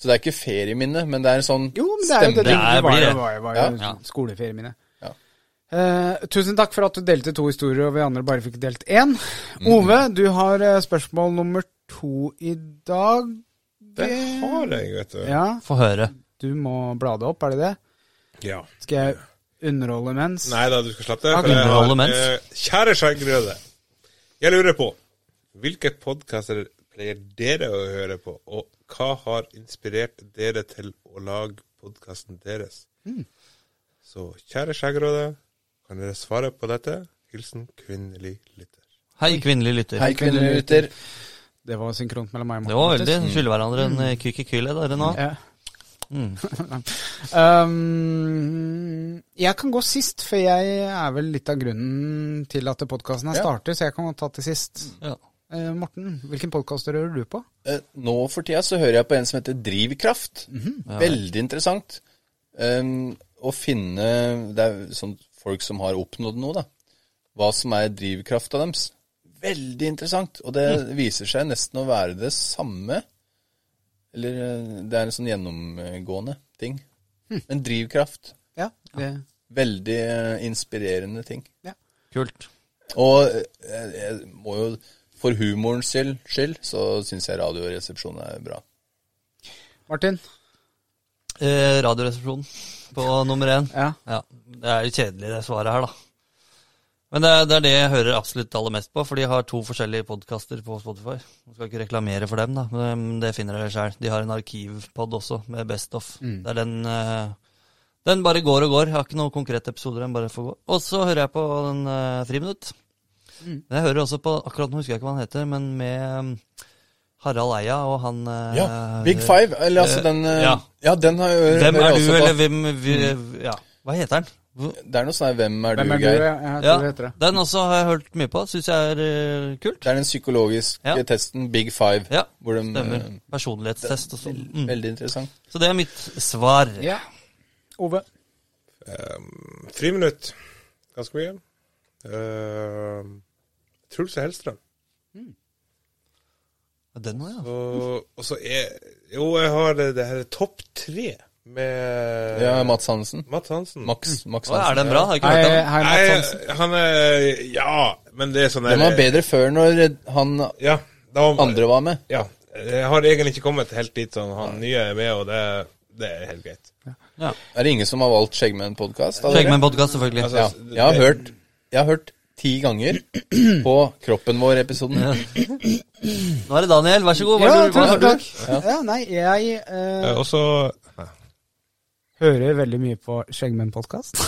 Så det er ikke ferieminne, men det er en sånn Jo, men det er jo det. Det stemning. er- var blir jo, det. var jo, var jo Ja. Ja. skoleferiene mine. Ja. Eh, tusen takk for at du delte to historier, og vi andre bare fikk delt én. Ove, du har eh, spørsmål nummer to i dag. Det har jeg, vet du. Ja, Få høre. du må blade opp, er det det? Ja. Skal jeg underholde mens? Nei da, du skal slappe det. Ja, for jeg har, underholde mens. eh, kjære skjeggrøde. Jeg lurer på hvilke podkaster pleier dere å høre på, og hva har inspirert dere til å lage podkasten deres? Så kjære skjeggrøde, kan dere svare på dette? Hilsen kvinnelig lytter. Hei, kvinnelig lytter. Hei, kvinnelige lytter. Det var synkront mellom meg og Det var Martin. veldig skylder hverandre en eh, kvikk i kylet der nå. Ja. Mm. Um, jeg kan gå sist, for jeg er vel litt av grunnen til at podkasten her Ja. starter, så jeg kan godt ta til sist. Ja. Eh, Morten, hvilken podkast hører du på? Eh, Nå for tida så hører jeg på en som heter Drivkraft. Veldig interessant. Ehm, å finne Det er sånn folk som har oppnådd noe, da. Hva som er drivkrafta deres. Veldig interessant. Og det viser seg nesten å være det samme. Eller eh, det er en sånn gjennomgående ting. Men drivkraft. Ja, det, Veldig eh, inspirerende ting. Kult. Og eh, jeg må jo For humorens skyld, skyld så syns jeg Radioresepsjonen er bra. Martin? Eh, radioresepsjonen på nummer én. Ja. Ja, Det er jo kjedelig, det svaret her, da. Men det er, det er det jeg hører absolutt aller mest på, for de har to forskjellige podkaster på Spotify. Jeg skal ikke reklamere for dem, da, men det finner dere sjøl. De har en arkivpod også, med Best of. Mm. Det er den eh, Den bare går og går. Jeg har ikke noen konkrete episoder, den bare får gå. Og så hører jeg på den eh, Friminutt. Mm. Men jeg hører også på Akkurat nå husker jeg ikke hva han heter, men med eh, Harald Eia og han eh, Ja, Big Five, eller eh, altså den eh, ja. Ja, den har jeg Hvem hører er også du, på. Mm. eller hvem vi, Ja, hva heter han? Hvor- Det er noe sånn her Hvem er Hvem du, er du? Geir? Jeg, jeg tror Ja, det heter det. den også har jeg hørt mye på. Syns jeg er eh, kult. Det er den psykologiske Ja. testen Big Five. Ja, hvor de, Stemmer. Mm. eh, Personlighetstest og sånn. Mm. Veldig interessant. Så det er mitt svar. Ja. Ove? Friminutt. Ganske mye. Uh, Truls og Hellstrøm. Den òg, ja. Og, og så er Jo, jeg har det, det her topp tre med Ja, Eh, Mats Hansen. Mats Hansen. Max, Max Å, Mm. er Hansen. den bra? Har jeg ikke Hei, hørt den. hei, Mats Nei, Hansen. han er Ja, men det er sånn Den var bedre før, når han Ja, da, andre var med. ja. Jeg har egentlig ikke kommet helt dit sånn. Han nye er med, og det, det er helt greit. Ja. Er det ingen som har valgt Skjeggmenn-podkast? Sjekk med en podkast, selvfølgelig. Altså, Ja. Jeg har hørt Jeg har hørt ti ganger på Kroppen vår-episoden. Nå er det Daniel, vær så god. Hva Ja, er det du- Eh, tusen hva er det du- takk. Ja, nei, jeg eh, Og så hører veldig mye på Skjeggmenn-podkast.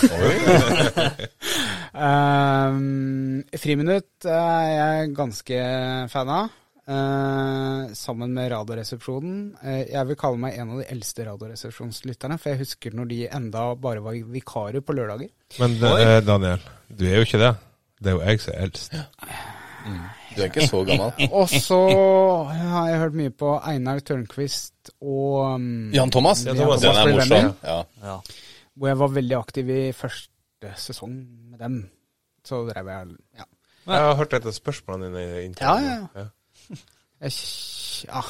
um, Friminutt er jeg ganske fan av. eh, sammen med Radioresepsjonen. Eh, jeg vil kalle meg en av de eldste Radioresepsjonslytterne, for jeg husker når de enda bare var vikarer på lørdager. Men eh, Daniel, du er jo ikke det. Det er jo jeg som er eldst. Du er ikke så gammel. Og så har jeg hørt mye på Einar Tørnquist og um, Jan Thomas? Jan Thomas. Den er morsom. Ja. Ja. hvor jeg var veldig aktiv i første sesong med dem. Så drev jeg ja. Jeg har hørt et av spørsmålene dine i intervjuet. Ja, ja, Jeg, kj- ja.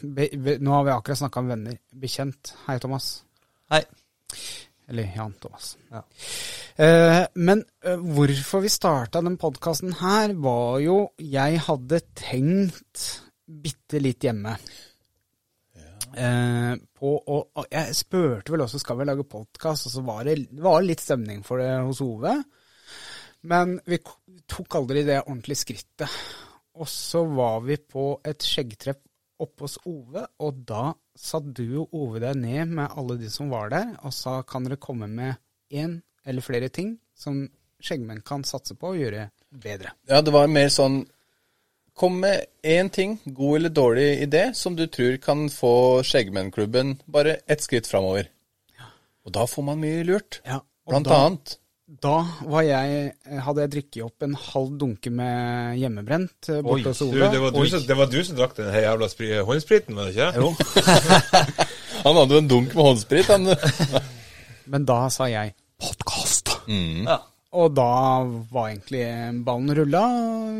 Be, be, nå har vi akkurat snakka om venner. Bekjent. Hei, Thomas. Hei. Eller Jan Thomas. Eh, men eh, hvorfor vi starta den podkasten her, var jo jeg hadde tenkt bitte litt hjemme. Eh, på å, og jeg spurte vel også skal vi lage podkast, og så var det, det var litt stemning for det hos Ove. Men vi k- tok aldri det ordentlige skrittet. Og så var vi på et skjeggtreff oppe hos Ove, og da satt du og Ove deg ned med alle de som var der, og sa kan dere komme med én eller flere ting som skjeggmenn kan satse på og gjøre bedre. ja, det var mer sånn Kom med én ting, god eller dårlig idé, som du tror kan få Skjeggmennklubben bare ett skritt framover. Og da får man mye lurt. Ja, og Blant da- annet. Da var jeg, eh, hadde jeg drukket opp en halv dunke med hjemmebrent eh, borte hos Du, Ove. det, var du og- som, det var du som drakk den her jævla spri, håndspriten, var det ikke? Jo. han hadde jo en dunk med håndsprit, han. Men da sa jeg podkast. Ja. Og da var egentlig ballen rulla.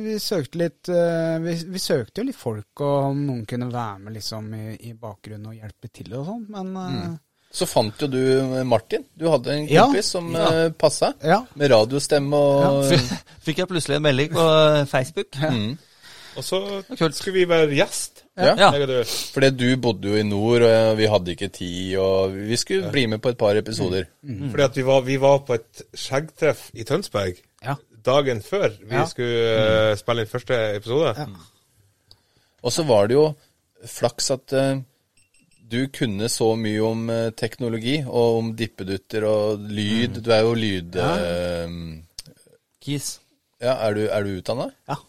Vi søkte litt eh, vi, vi søkte jo litt folk, og om noen kunne være med liksom i, i bakgrunnen og hjelpe til og sånn, men eh, Så fant jo du eh, Martin. Du hadde en Ja. kompis som ja. passa. Ja. Med radiostemme og Fikk jeg plutselig en melding på eh, Facebook. Og så kult. skulle vi være gjest. Ja. Mm. Ja. Jeg og du. Fordi du bodde jo i nord, og vi hadde ikke tid, og vi skulle bli med på et par episoder. Mm. Fordi at vi var, vi var på et skjeggtreff i Tønsberg Ja. dagen før vi Ja. Mm. skulle eh, spille inn første episode. Og så var det jo flaks at eh, du kunne så mye om eh, teknologi, og om dippedutter og Mm. lyd. Du er jo lyd... eh, Kis. ja, er du, er du utdanna ja.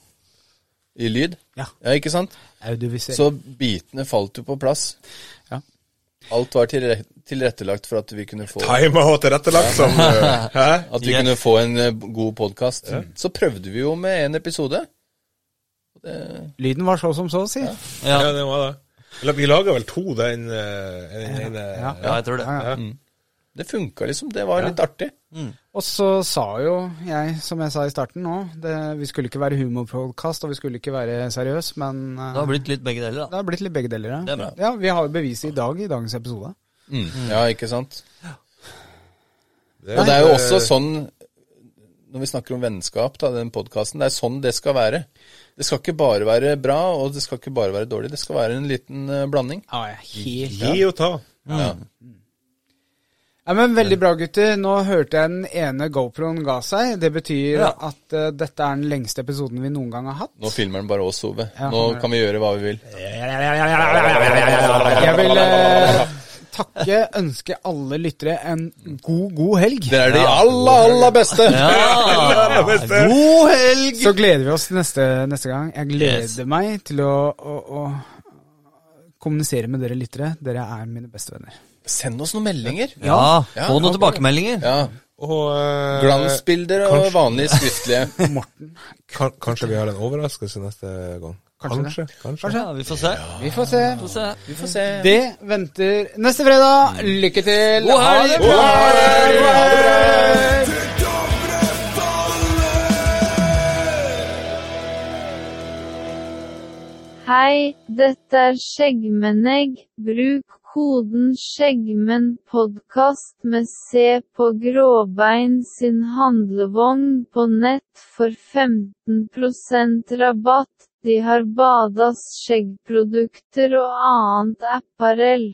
i lyd? Ja. ja. Ikke sant? Audiovisuell. Så bitene falt jo på plass. Ja. Alt var tilre- tilrettelagt for at vi kunne få Time og tilrettelagt som eh, Hæ? At vi Yes. kunne få en eh, god podkast. Så prøvde vi jo med en episode. Lyden var så som så, si. Ja. Ja. Ja, det var det. Eller, vi laga vel to den eh, en- en- eh, Ja. ja, jeg tror det. Ja, Det funka liksom. Det var litt artig. Og så sa jo jeg, som jeg sa i starten nå, det, vi skulle ikke være humorpodkast, og vi skulle ikke være seriøs, men eh, Det har blitt litt begge deler, da. det har blitt litt begge deler. Det Ja. er bra. ja, vi har jo beviset i dag i dagens episode. Mm. Ja, ikke sant? det Og det er jo også sånn Når vi snakker om vennskap, da, den podkasten, det er sånn det skal være. Det skal ikke bare være bra, og det skal ikke bare være dårlig. Det skal være en liten eh, blanding. Ja, jeg er helt Gi og ta. Ja. Ja, men Veldig bra, gutter. Nå hørte jeg den ene GoProen ga seg. Det betyr Ja. at eh, dette er den lengste episoden vi noen gang har hatt. Nå filmer den bare oss, Ove. Ja. Nå kan vi gjøre hva vi vil. Jeg vil eh, takke, ønske alle lyttere en god, god helg. Dere er de aller, aller beste! Ja. God helg! Så gleder vi oss til neste, neste gang. Jeg gleder Yes. meg til å, å, å kommunisere med dere lyttere. Dere er mine beste venner. Send oss noen meldinger. Ja, Ja, få ja. noen tilbakemeldinger. Ja. Og eh, Glansbilder og kanskje- vanlige skriftlige. Morten. kan, Kanskje vi har en overraskelse neste gang. Kanskje Kanskje. kanskje. Ja, vi får se. Vi får se. Vi får se. Vi får se. Det venter neste fredag. Lykke til. God helg! bra. Hei, dette er Skjeggmennegg. Bruk koden skjeggmennpodkast med C på Gråbein sin handlevogn på nett for 15 rabatt. De har Badas skjeggprodukter og annet apparell.